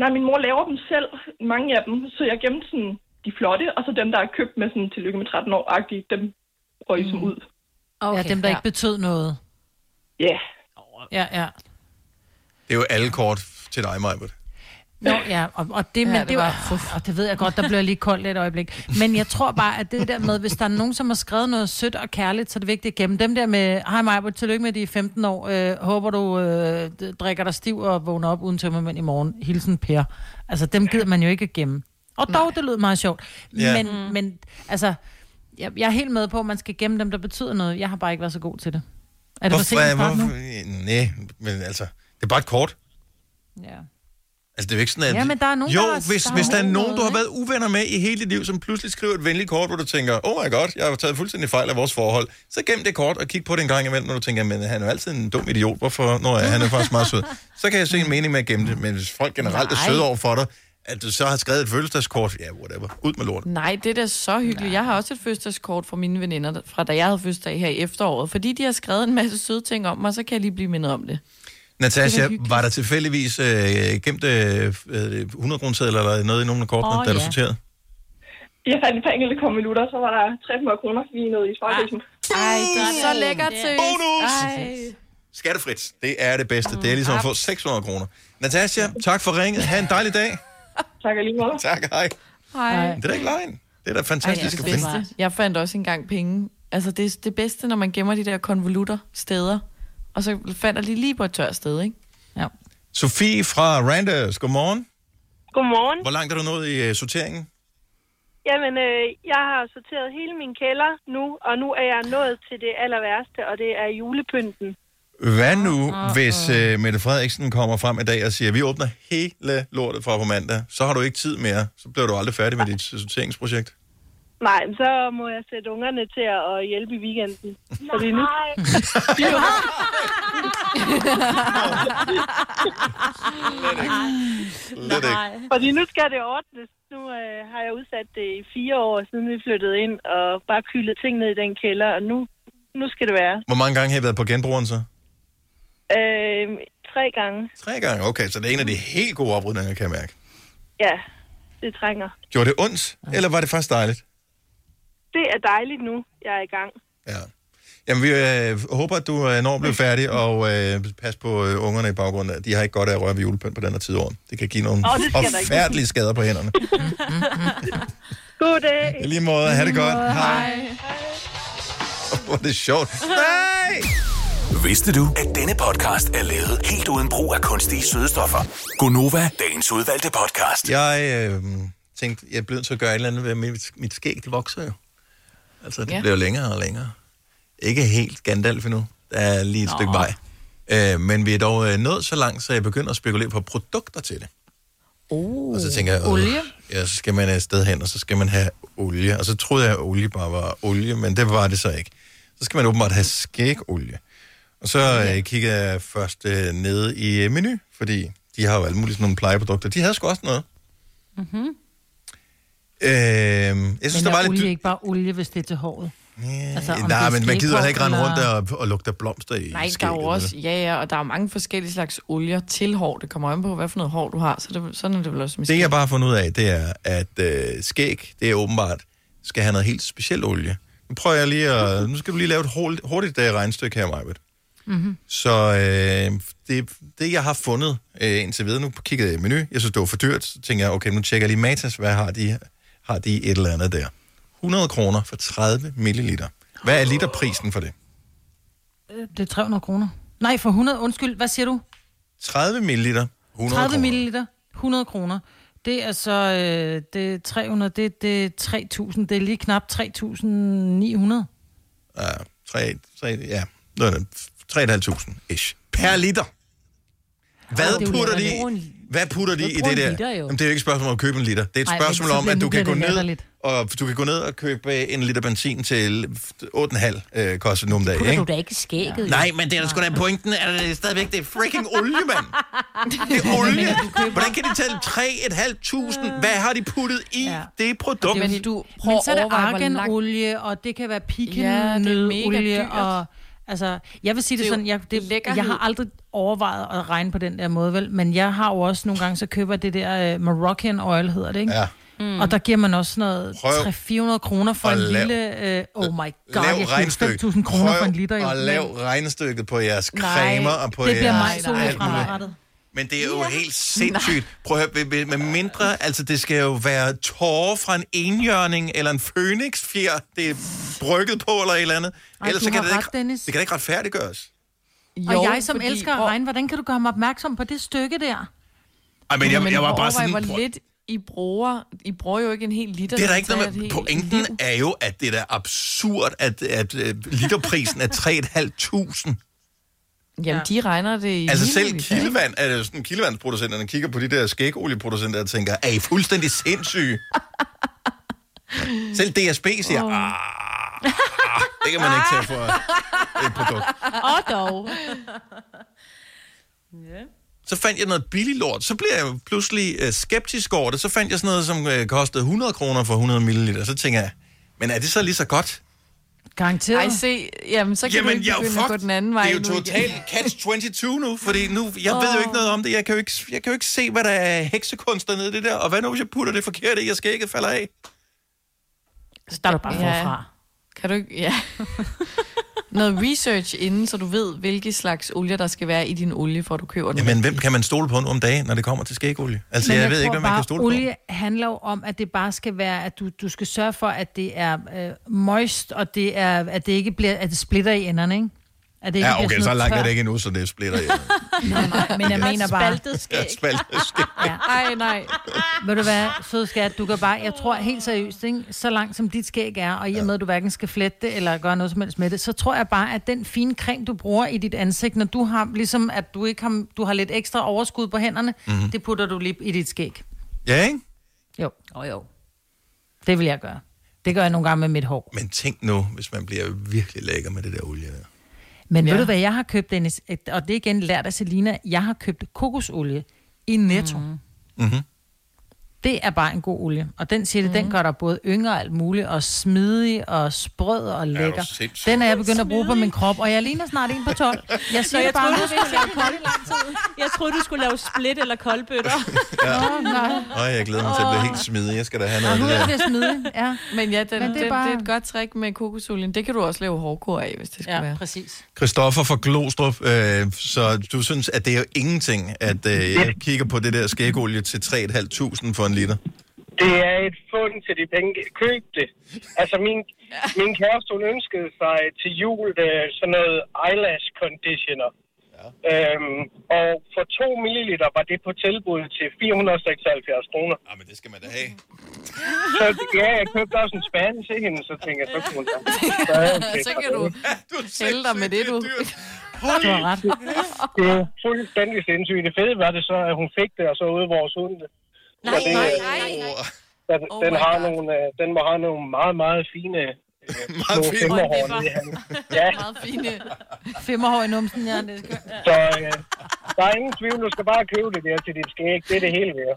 S19: Nej, min mor laver dem selv, mange af dem, så jeg gemte sådan de flotte, og så dem, der er købt med sådan tillykke med 13 år-agtige, dem røg mm. som ud.
S4: Okay, ja, dem, der ja. ikke betød noget.
S19: Ja. Yeah.
S4: Ja, ja.
S1: Det er jo alle kort til dig, Majbert.
S4: Nå, ja, og, og det, ja, men det, det var, og det ved jeg godt, der blev jeg lige koldt et øjeblik. Men jeg tror bare, at det der med, hvis der er nogen, som har skrevet noget sødt og kærligt, så er det vigtigt at gemme dem der med, hej Maja, tillykke med de 15 år, øh, håber du øh, d- drikker dig stiv og vågner op uden tømmermænd i morgen. Hilsen Per. Altså, dem gider man jo ikke at gemme. Og dog, Nej. det lød meget sjovt.
S1: Ja.
S4: Ja. Men, men altså, jeg, jeg er helt med på, at man skal gemme dem, der betyder noget. Jeg har bare ikke været så god til det. Er det for sent at starte nu?
S1: Nej, men altså, det er bare et kort.
S4: Ja.
S1: Altså, det er jo ikke sådan, at...
S4: Ja, men der er nogen,
S1: jo,
S4: der har-
S1: hvis,
S4: der har
S1: hvis der er
S4: nogen
S1: nogen, du har
S4: noget,
S1: været uvenner med i hele dit liv, som pludselig skriver et venligt kort, hvor du tænker, oh my god, jeg har taget fuldstændig fejl af vores forhold, så gem det kort og kig på det en gang imellem, når du tænker, men han er jo altid en dum idiot, hvorfor? Nå, ja, han er faktisk meget sød. Så kan jeg se en mening med at gemme det, men hvis folk generelt er
S3: Nej.
S1: søde over for dig, at du så har skrevet et fødselsdagskort, ja, whatever, ud med lorten.
S3: Nej, det er da så hyggeligt. Nej. Jeg har også et fødselsdagskort fra mine veninder, der- fra da jeg havde fødselsdag her i efteråret, fordi de har skrevet en masse søde ting om mig, så kan jeg lige blive mindet om det.
S1: Natasha,
S3: hyggeligt.
S1: var der tilfældigvis øh, gemt øh, øh, 100 kroner eller noget i nogle af kortene,
S19: Åh,
S1: oh, da du
S19: ja.
S1: sorterede?
S19: Jeg fandt et par enkelte konvolutter, så var der 300 kroner, vi er nede i spejlæsen.
S3: Ej, så lækkert til.
S1: Bonus!
S3: Ej.
S1: Skattefrit. Det er det bedste. Det er ligesom at få 600 kroner. Natasha, tak for ringet. Ha' en dejlig dag.
S19: tak alligevel.
S1: Tak, hej.
S3: Hej.
S1: Det er da ikke løgn. Det er da fantastisk
S3: Ej,
S1: at
S3: det er det
S1: finde.
S3: bedste. Jeg fandt også engang penge. Altså, det er det bedste, når man gemmer de der konvolutter steder. Og så fandt jeg lige, lige på et tørt sted, ikke? Ja.
S1: Sofie fra Randers, godmorgen.
S19: Godmorgen.
S1: Hvor langt er du nået i uh, sorteringen?
S16: Jamen, øh, jeg har sorteret hele min kælder nu, og nu er jeg nået til det aller værste, og det er julepynten.
S1: Hvad nu, hvis uh, Mette Frederiksen kommer frem i dag og siger, at vi åbner hele lortet fra på mandag, så har du ikke tid mere, så bliver du aldrig færdig med dit øh, sorteringsprojekt.
S16: Nej, men så må jeg sætte ungerne til at at hjælpe i weekenden. Så det er nu.
S1: Lidt ikke.
S16: Fordi nu skal det ordnes. Nu øh, har jeg udsat det i fire år, siden vi flyttede ind, og bare kylet ting ned i den kælder, og nu, nu skal det være.
S1: Hvor mange gange har I været på genbrugeren så?
S16: Øh, tre gange.
S1: Tre gange, okay, så det er en af de helt gode oprydninger, kan jeg mærke.
S16: Ja, det trænger.
S1: Gjorde det ondt, eller var det faktisk dejligt?
S16: Det er dejligt nu, jeg er i gang.
S1: Jamen, vi øh, håber, at du øh, når at blive færdig, og øh, pas på øh, ungerne i baggrunden. De har ikke godt af at røre ved julepynt på den her tid af året. Det kan give nogle
S16: Åh, det skal der ikke.
S1: forfærdelige skader på hænderne.
S16: God dag.
S1: I lige måde, have det godt. Hej. Hvor er det sjovt. Nej!
S6: Vidste du, at denne podcast er lavet helt uden brug af kunstige sødestoffer?
S1: Gunova.
S6: Dagens udvalgte podcast.
S1: Jeg øh, tænkte, jeg blev nødt til at gøre et eller andet ved mit, mit skæg. Det vokser jo. Altså, det
S6: Ja.
S1: ja. bliver jo længere og længere. Ikke helt Gandalf endnu. Der er lige et Nå. stykke vej. Øh, men vi er dog øh, nået så langt, så jeg begynder at spekulere på produkter til det.
S4: Oh.
S1: Og så tænker jeg, øh,
S4: Olie?
S1: ja, så skal man et sted hen, og så skal man have olie. Og så troede jeg, at olie bare var olie, men det var det så ikke. Så skal man åbenbart have skægolie. Og så øh, kigger jeg først øh, nede i øh, menu, fordi de har jo alle mulige sådan nogle plejeprodukter. De havde sgu også noget.
S4: Mm-hmm.
S1: Øh, jeg synes,
S4: men er
S1: der var lidt...
S4: olie ikke bare olie, hvis det er til håret?
S1: Yeah.
S4: Altså, om det
S1: Nej,
S4: er
S1: men man
S4: skægkort
S1: gider heller ikke rende rundt
S4: eller-
S1: og, og lugte af blomster i
S3: Nej, der er
S1: skægget,
S3: jo
S1: vel?
S3: også, ja, ja, og der er jo mange forskellige slags olier til hår. Det kommer an på, hvad for noget hår du har, så det, sådan er det vel også med
S1: Det, jeg bare har fundet ud af, det er, at øh, skæg, det er åbenbart, skal have noget helt speciel olie. Nu prøver jeg lige at... Nu skal du lige lave et hurtigt, hurtigt øh, regnestykke her, Majbet.
S3: Mhm.
S4: Mm-hmm.
S1: Så øh, det, det, jeg har fundet øh, indtil videre, nu kiggede jeg i menu, jeg synes, det var for dyrt, så tænker jeg, okay, nu tjekker jeg lige Matas, hvad har de, har de et eller andet der. 100 kroner for 30 milliliter. Hvad er literprisen for det?
S4: Øh, Det er 300 kroner. Nej, for 100, undskyld, hvad siger du?
S1: 30 milliliter, 100
S4: 30
S1: kroner.
S4: milliliter, 100 kroner. Det er så, øh, det er 300, det, det er 3.000, det er lige knap 3.900.
S1: Ja, 3, 3, ja, noget af det. 3.500 ish. Per liter. Hvad
S4: Åh, det er jo
S1: putter de,
S4: lidt ærgerligt.
S1: hvad putter de
S4: Jeg
S1: i
S4: bruger
S1: det
S4: en
S1: der?
S4: liter, jo.
S1: Jamen, det er jo ikke et spørgsmål om at købe en liter. Det er et
S4: Ej, men
S1: spørgsmål
S4: så
S1: om,
S4: bliver-
S1: at
S4: nu
S1: du kan, gå
S4: bliver det
S1: ned,
S4: latterligt.
S1: og du kan gå ned og købe øh, en liter benzin til 8,5 øh, koster nu om dagen.
S2: Putter du
S1: Ikke?
S2: da ikke i skægget? jo?
S1: Nej, men det er da sgu da pointen, at det er stadigvæk det er freaking olie, mand. Det er olie. Hvordan kan de tælle 3.500? Hvad har de puttet i ja. det produkt?
S4: Men så er det arganolie, og det kan være
S3: Ja, det er mega
S4: pikenødolie,
S3: dyrt.
S4: og Altså, jeg vil sige det,
S2: Det er
S4: det
S2: jo
S4: sådan, jeg, det,
S2: lækkerhed.
S4: jeg har aldrig overvejet at regne på den der måde, vel? Men jeg har jo også nogle gange, så køber jeg det der uh, Moroccan oil, hedder det, ikke?
S1: Ja.
S4: Mm. Og der giver man også sådan noget
S1: Prøv
S4: 300-400 kroner for
S1: at
S4: en
S1: lav-
S4: lille... Uh, oh my god,
S1: Lav
S4: jeg
S1: regnstykket.
S4: købte 5.000 kroner for en liter. jo.
S1: og lav regnestykket på jeres cremer og på
S4: det bliver mig
S1: jeres
S4: solo
S1: alt muligt.
S4: fremadrettet.
S1: Men det er jo ja. helt sindssygt. Prøv at høre, med- med mindre, altså det skal jo være tårer fra en enhjørning eller en fønixfjer, det er brygget på eller et eller andet.
S4: Ej,
S1: Ellers
S4: du
S1: så kan
S4: har
S1: det,
S4: ret,
S1: ikke,
S4: Dennis.
S1: det kan da ikke retfærdiggøres.
S4: Jo, og jeg som fordi, elsker at regne, hvordan kan du gøre mig opmærksom på det stykke der?
S1: Ej, men jeg,
S3: Men
S1: jeg var
S3: overvej,
S1: bare sådan...
S3: hvor lidt I bruger. I bruger jo ikke en hel liter.
S1: Det er der
S3: når I
S1: ikke noget
S3: tager
S1: med.
S3: et helt-
S1: Pointen er jo, at det er da absurd, at, at øh, literprisen er 3.500.
S3: Jamen, de regner det i...
S1: Altså
S3: liter,
S1: selv
S3: ikke?
S1: kildevand, er det jo sådan, kildevandsproducenterne kigger på de der skægolieproducenter og tænker, er I fuldstændig sindssyge? selv DSB siger, oh. det kan man ikke tage for et produkt.
S2: Og dog.
S1: Så fandt jeg noget billig lort, så blev jeg jo pludselig øh, skeptisk over det, så fandt jeg sådan noget, som øh, kostede 100 kroner for 100 ml, så tænker jeg, men er det så lige så godt?
S4: Garanteret.
S3: Ej, se, jamen, så kan
S1: Jamen,
S3: du ikke
S1: jeg er jo
S3: begynde at gå
S1: fucked.
S3: den anden vej
S1: Det er jo
S3: nu igen.
S1: totalt catch-22 nu, fordi nu, jeg oh. ved jo ikke noget om det. Jeg kan jo ikke, jeg kan jo ikke se, hvad der er heksekunst dernede i det der. Og hvad nu, hvis jeg putter det forkert i, jeg skal ikke falde af?
S4: Så starter du bare
S3: Ja.
S4: forfra.
S3: Kan du ikke... Ja. Noget research inden, så du ved, hvilke slags olie, der skal være i din olie, for du køber den.
S1: Jamen, hvem kan man stole på nu om dagen, når det kommer til skægolie? Altså,
S4: Men
S1: jeg, jeg ved
S4: tror
S1: ikke, hvad man
S4: bare,
S1: kan stole
S4: olie
S1: på.
S4: handler jo om, at det bare skal være, at du, du skal sørge for, at det er øh, moist, og det er, at det ikke bliver, at det splitter i enderne, ikke? At det ikke
S1: Ja,
S4: bliver
S1: okay,
S4: sådan
S1: så
S4: noget
S1: langt er
S4: tør-
S1: det ikke endnu, så det splitter jeg.
S4: Nej, men jeg
S1: Ja.
S4: mener bare...
S1: Spaltet skæg. Ja, spaltet skæg.
S4: Ja. Ej, nej. Ved du hvad, søde skat, du kan bare... Jeg tror helt seriøst, ikke? så langt som dit skæg er, og i og med, at du hverken skal flette det eller gøre noget som helst med det, så tror jeg bare, at den fine creme, du bruger i dit ansigt, når du har, ligesom at du ikke har, du har lidt ekstra overskud på hænderne,
S1: Mhm.
S4: mm-hmm. det putter du lige i dit skæg.
S1: Ja, ikke?
S4: Jo. Oh, jo. Det vil jeg gøre. Det gør jeg nogle gange med mit hår.
S1: Men tænk nu, hvis man bliver virkelig lækker med det der olie der.
S4: Men ja. ved du hvad, jeg har købt, Dennis, et- og det er igen lært af Selina, jeg har købt kokosolie i Netto. Mm.
S1: Mm-hmm.
S4: Det er bare en god olie. Og den siger det, mm. den gør dig både yngre og alt muligt, og smidig og sprød og
S1: du
S4: lækker.
S1: sindssyg?
S4: den er jeg begyndt at bruge på min krop, og jeg ligner snart en på 12. Jeg siger
S7: Nå,
S4: jeg
S7: jeg
S4: bare,
S7: troede,
S4: nu
S7: du
S4: skal
S7: skulle lave kold Jeg troede, du skulle lave split eller koldbøtter.
S1: Ja.
S4: Nå, nej.
S1: Øj, jeg glæder mig til at blive helt smidig. Jeg skal da have noget af det der.
S4: smidig, ja.
S3: Men ja, den,
S4: Men det
S3: det,
S4: er bare-
S3: den, bare... det er et godt trick med kokosolien. Det kan du også lave hårdkår af, hvis det skal ja, være. Ja,
S4: præcis.
S1: Christoffer fra Glostrup, øh, så du synes, at det er jo ingenting, at øh,
S4: Mm.
S1: jeg kigger på det der skægolie til 3.500 for en liter?
S9: Det er et fund til de penge. Køb det. Altså, min, min kæreste, hun ønskede sig til jul øh, sådan noget eyelash conditioner. Ja. Øhm, og for 2 ml var det på tilbud til 476 kroner.
S1: Ja, Ah, men det skal man da have.
S9: Så ja, jeg købte også en spand til hende, så tænkte jeg, så kunne hun da.
S3: Så kan du hælde dig med det, du.
S9: Du har ret. Det er fuldstændig sindssygt. Det fede var det så, at hun fik det, og så ude vores hund det. Så
S7: Nej,
S9: det,
S7: nej,
S9: øh,
S7: nej, nej.
S9: Den,
S7: Oh
S9: oh den,
S7: my
S9: har
S7: God.
S9: nogle, øh, den må have nogle meget, meget fine øh,
S1: meget
S9: små
S1: fine
S9: femmerhorn
S1: håndvipper.
S9: i han. Ja,
S3: Meget fine.
S4: Femmerhår i numsen, ja. Det skal...
S9: så øh, der er ingen tvivl. Du skal bare købe det der til dit skæg. Det er det hele værd.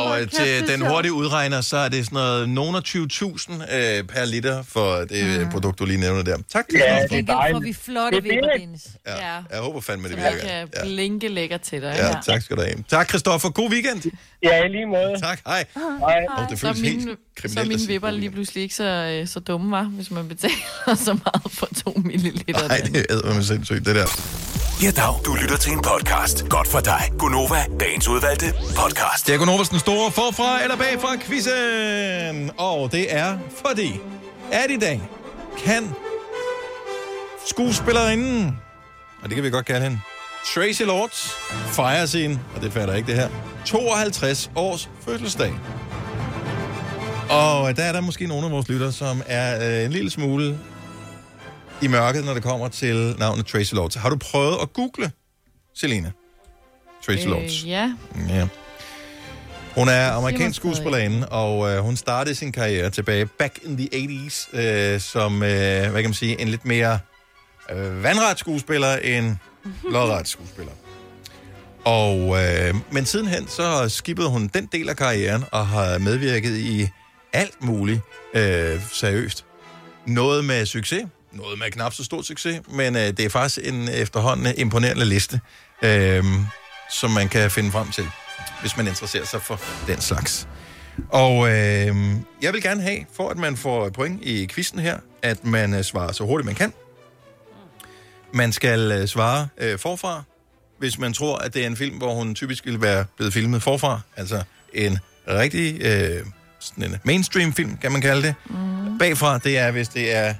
S1: Og øh, til den hurtige udregner, så er det sådan noget nogen 20.000 øh, per liter for det mm. produkt, du lige nævner der. Tak til
S9: Ja,
S1: Christoffer.
S9: det er
S4: Gengæld får vi flotte
S3: Det er
S4: vipper,
S3: det.
S4: Dennis.
S3: Ja.
S1: Jeg håber fandme, det
S3: Så man
S1: virker.
S3: kan blinke lækker til dig.
S1: Ja, tak skal du have. Tak, Christoffer. God weekend.
S9: Ja, i lige måde.
S1: Tak, hej.
S9: Hej.
S1: Og det
S3: så
S1: føles helt kriminelt
S3: så er
S1: at
S3: mine
S1: sige
S3: vipper lige pludselig ikke så, øh, så dumme, var, hvis man betaler så meget for 2 milliliter.
S1: Nej, det æder mig sindssygt, det der.
S6: Ja, dag. Du lytter til en podcast. Godt for dig. Gunova, dagens udvalgte podcast.
S1: Det er Gunovas den store forfra eller bagfra quizzen. Og det er fordi, at i dag kan skuespillerinden, og det kan vi godt kalde hende, Tracy Lords fejrer sin, og det fatter jeg ikke det her, 52 års fødselsdag. Og der er der måske nogle af vores lytter, som er øh, en lille smule i mørket, når det kommer til navnet Tracy Lords. Har du prøvet at google, Selina? Tracy Lords.
S3: Øh, ja.
S1: Ja. Hun er
S3: man
S1: amerikansk skuespillerinde, og øh, hun startede sin karriere tilbage back in the 80's, øh, som, øh, hvad kan man sige, en lidt mere øh, vandret skuespiller end lodret skuespiller. Og, øh, men sidenhen, så skippede hun den del af karrieren, og har medvirket i alt muligt øh, seriøst. Noget med succes, Noget med knap så stor succes, men øh, det er faktisk en efterhånden imponerende liste, øh, som man kan finde frem til, hvis man interesserer sig for den slags. Og øh, jeg vil gerne have, for at man får point i quizzen her, at man øh, svarer så hurtigt man kan. Man skal øh, svare øh, forfra, hvis man tror, at det er en film, hvor hun typisk ville være blevet filmet forfra. Altså en rigtig øh, sådan en mainstream-film, kan man kalde det. Mm. Bagfra, det er, hvis det er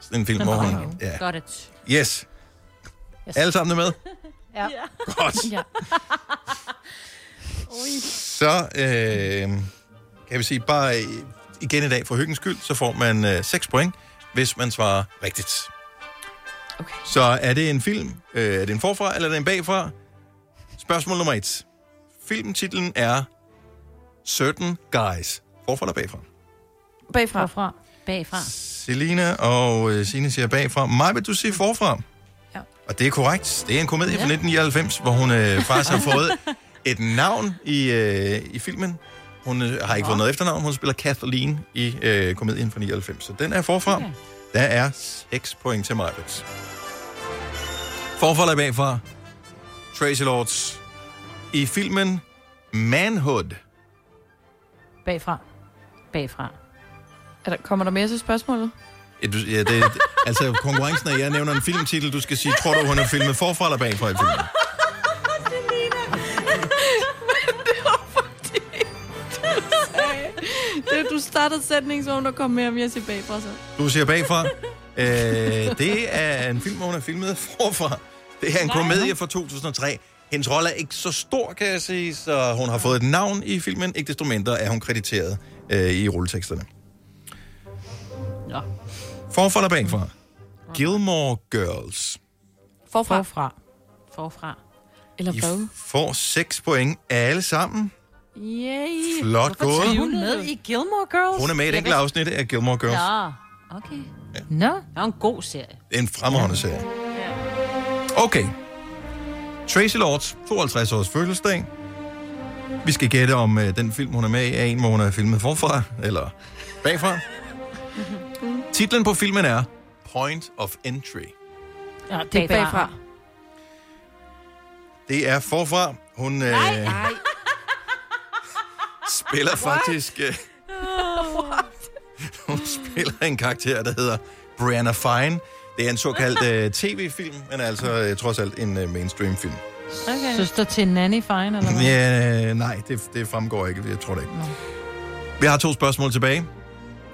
S1: sådan en film, hvor hun... Ja.
S2: Got it.
S1: Yes. yes. Alle sammen er med?
S2: Ja.
S1: Godt.
S2: Ja.
S1: Så øh, kan vi sige, bare øh, igen i dag for hyggens skyld, så får man øh, 6 point, hvis man svarer rigtigt. Okay. Så er det en film? Øh, er det en forfra, eller er det en bagfra? Spørgsmål nummer 1. Filmtitlen er Certain Guys. Forfra eller bagfra?
S3: Bagfra.
S2: Bagfra. Bagfra.
S1: Selina og øh, Signe siger bagfra. Maj, vil du sige forfra? Ja. Og det er korrekt. Det er en komedie ja. fra 1999, hvor hun øh, faktisk har fået et navn i, øh, i filmen. Hun øh, har ikke fået noget efternavn. Hun spiller Kathleen i øh, komedien fra 99. Så den er forfra. Okay. Der er 6 point til Majbets. Forfra eller bagfra? Tracy Lords. I filmen Manhood.
S2: Bagfra. Bagfra.
S3: Er der, kommer der mere til spørgsmålet?
S1: Ja, du- ja, det, altså konkurrencen er, jeg nævner en filmtitel, du skal sige, tror du, hun er filmet forfra eller bagfra i filmen?
S3: det, du startede sætningen, så der kom mere om Jesse bagfra så.
S1: Du siger bagfra. Øh, det er en film, hvor hun er filmet forfra. Det er en komedie fra 2003. Hendes rolle er ikke så stor, kan jeg sige, så hun har fået et navn i filmen. Ikke desto mindre er hun krediteret øh, i rulleteksterne.
S2: Nå.
S1: Forfra eller bagfra? Gilmore Girls.
S3: Forfra.
S2: Forfra. Forfra.
S3: Eller
S1: I får 6 point alle sammen.
S4: Yay.
S1: Flot
S4: Hvorfor
S1: gået.
S4: er hun med i Gilmore Girls?
S1: Hun er med i et
S4: Jeg
S1: enkelt
S4: vidste-
S1: afsnit af Gilmore Girls.
S2: Ja, okay.
S4: Nå.
S2: Det er en god serie.
S1: Det er en fremragende serie. Okay. Tracy Lords 52 års fødselsdag. Vi skal gætte om øh, den film, hun er med i, er en, hvor hun er filmet forfra eller bagfra. Titlen på filmen er Point of Entry.
S4: Ja, det er bagfra.
S1: Det er forfra. Hun øh,
S4: Nej.
S1: spiller faktisk øh, hun spiller en karakter, der hedder Brianna Fine. Det er en såkaldt øh, tv-film, men altså øh, trods alt en øh, mainstream-film.
S4: Okay. Søster til Nanny Fine, eller hvad?
S1: Ja, nej, det, det fremgår ikke. Jeg tror det ikke.
S4: Nå.
S1: Vi har to spørgsmål tilbage.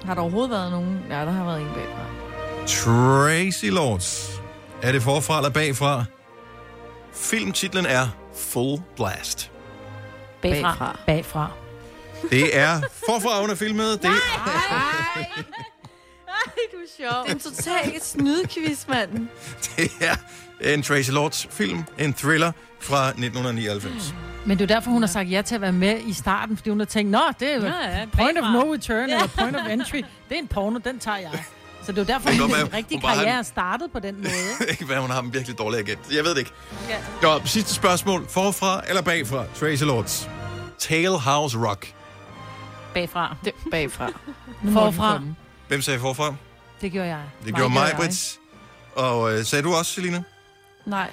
S3: Har der overhovedet været nogen? Ja, der har været en bagfra.
S1: Tracy Lords. Er det forfra eller bagfra? Filmtitlen er Full Blast.
S2: Bagfra. Bagfra.
S1: Det er forfra, hun er filmet. Det
S3: Ej, du er sjov. Det er en total snydequiz, manden.
S1: Det er en Tracy Lords film, en thriller fra 1999.
S4: Men det er jo derfor, hun har sagt ja til at være med i starten, fordi hun har tænkt, nå, det er jo
S2: Ja, ja,
S4: point of
S2: bagfra."
S4: no return,
S2: Ja.
S4: eller point of entry. Det er en porno, den tager jeg. Så det er jo derfor,
S1: Det kan
S4: hun
S1: godt
S4: en
S1: være,
S4: rigtig
S1: hun bare har
S4: karriere
S1: en-
S4: er startet på den måde.
S1: ikke hvad, hun har dem virkelig dårligt igen. Jeg ved det ikke. Nå, sidste spørgsmål. Forfra eller bagfra? Tracy Lords. Tale House Rock.
S2: Bagfra.
S3: Det, bagfra.
S4: Forfra.
S1: Hvem sagde forfra?
S4: Det gjorde jeg.
S1: Det gjorde mig, Brits. Og øh, sagde du også, Selina?
S3: Nej.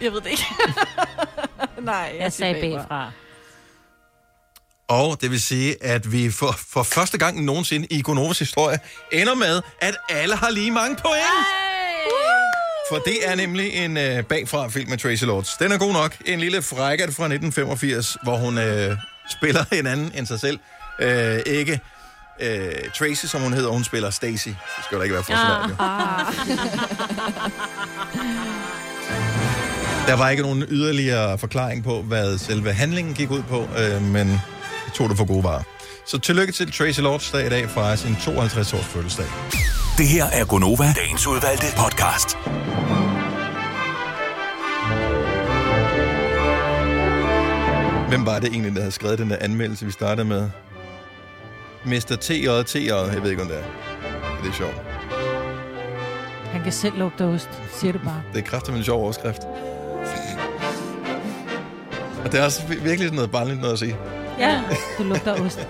S3: Jeg ved det ikke. Nej, jeg,
S2: Jeg sagde bagfra.
S1: Og det vil sige, at vi for, for første gang nogensinde i Gonovas historie ender med, at alle har lige mange point. For det er nemlig en øh, bagfra-film med Tracy Lords. Den er god nok. En lille frækket fra 1985, hvor hun øh, spiller en anden end sig selv. Øh, ikke øh, Tracy, som hun hedder. Hun spiller Stacy. Det skal da ikke være for
S10: Ah.
S1: svært. jo. Der var ikke nogen yderligere forklaring på, hvad selve handlingen gik ud på, øh, men jeg tog det for gode varer. Så tillykke til Tracy Lords dag i dag fra sin 52-års fødselsdag.
S6: Det her er Gonova, dagens udvalgte podcast.
S1: Hvem var det egentlig, der havde skrevet den der anmeldelse, vi startede med? Mr. T.J. T.J. Jeg ved ikke, om det er. Men Det er sjovt.
S4: Han kan selv lugte ost, siger du bare.
S1: Det er kraftigt en sjov overskrift. Og det er også vir- virkelig sådan noget barnligt noget at sige.
S4: Ja, det lugter ost.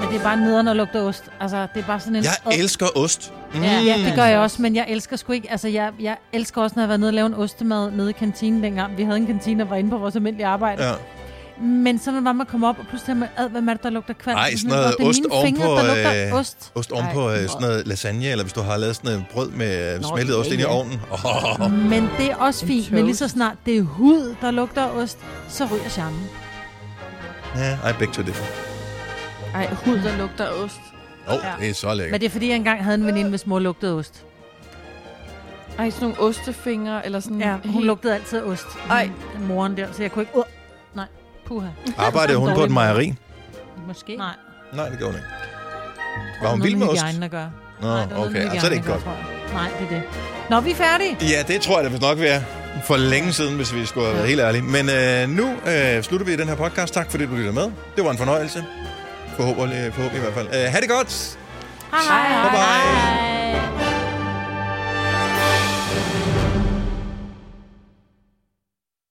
S4: Men det er bare nederen at lugte ost. Altså, det er bare sådan en...
S1: Jeg elsker ost.
S4: Mm. Ja, ja, det gør jeg også, men jeg elsker sgu ikke... Altså, jeg, jeg elsker også, når jeg har været nede og lave en ostemad nede i kantinen dengang. Vi havde en kantine, der var inde på vores almindelige arbejde.
S1: Ja.
S4: Men så var det bare, man kom op, og pludselig havde man, ad, hvad er det, der lugter kvalm?
S1: Nej,
S4: Og
S1: sådan
S4: var
S1: noget
S4: det
S1: ost
S4: mine
S1: ovenpå,
S4: fingre, der lugter
S1: øh,
S4: ost.
S1: ost ovenpå øh, sådan noget lasagne, eller hvis du har lavet sådan et brød med øh,
S4: Nå, Mm.
S1: smeltet
S4: ja,
S1: ost ind i
S4: ja.
S1: ovnen. Oh.
S4: Men det er også fint, men lige så snart det er hud, der lugter af ost, så ryger charmen.
S1: Ja, I beg to differ.
S4: Ej, hud, der lugter af ost.
S1: Åh, oh, det er så
S4: Men
S1: lækkert.
S4: det er fordi, jeg engang havde en veninde, hvis mor lugtede af ost.
S3: Ej, sådan nogle ostefingre, eller sådan...
S4: Ja, hun lugtede altid af ost. Ej. Moren der, så jeg kunne ikke... Uh, nej, puha.
S1: Arbejdede hun på et
S4: Dårlig mor.
S1: mejeri?
S4: Måske. Nej.
S1: Nej, det gjorde hun ikke.
S4: Det
S1: Var hun vild med ost?
S4: Hygiejnen at gøre.
S1: Nå,
S4: Nej, det var noget
S1: okay,
S4: med
S1: altså, så er det ikke
S4: hygiejnen
S1: godt.
S4: at gøre, tror jeg. Nej, det er det. Nå, vi er færdige.
S1: Ja, det tror jeg da vist nok, vi er. For længe siden, hvis vi skulle have været helt ærlige. Men øh, nu øh, slutter vi den her podcast. Tak fordi du lytter med. Det var en fornøjelse. Forhåbentlig, forhåbentlig i hvert fald. Øh, ha' det godt!
S4: Hej, hej.
S1: Bye-bye.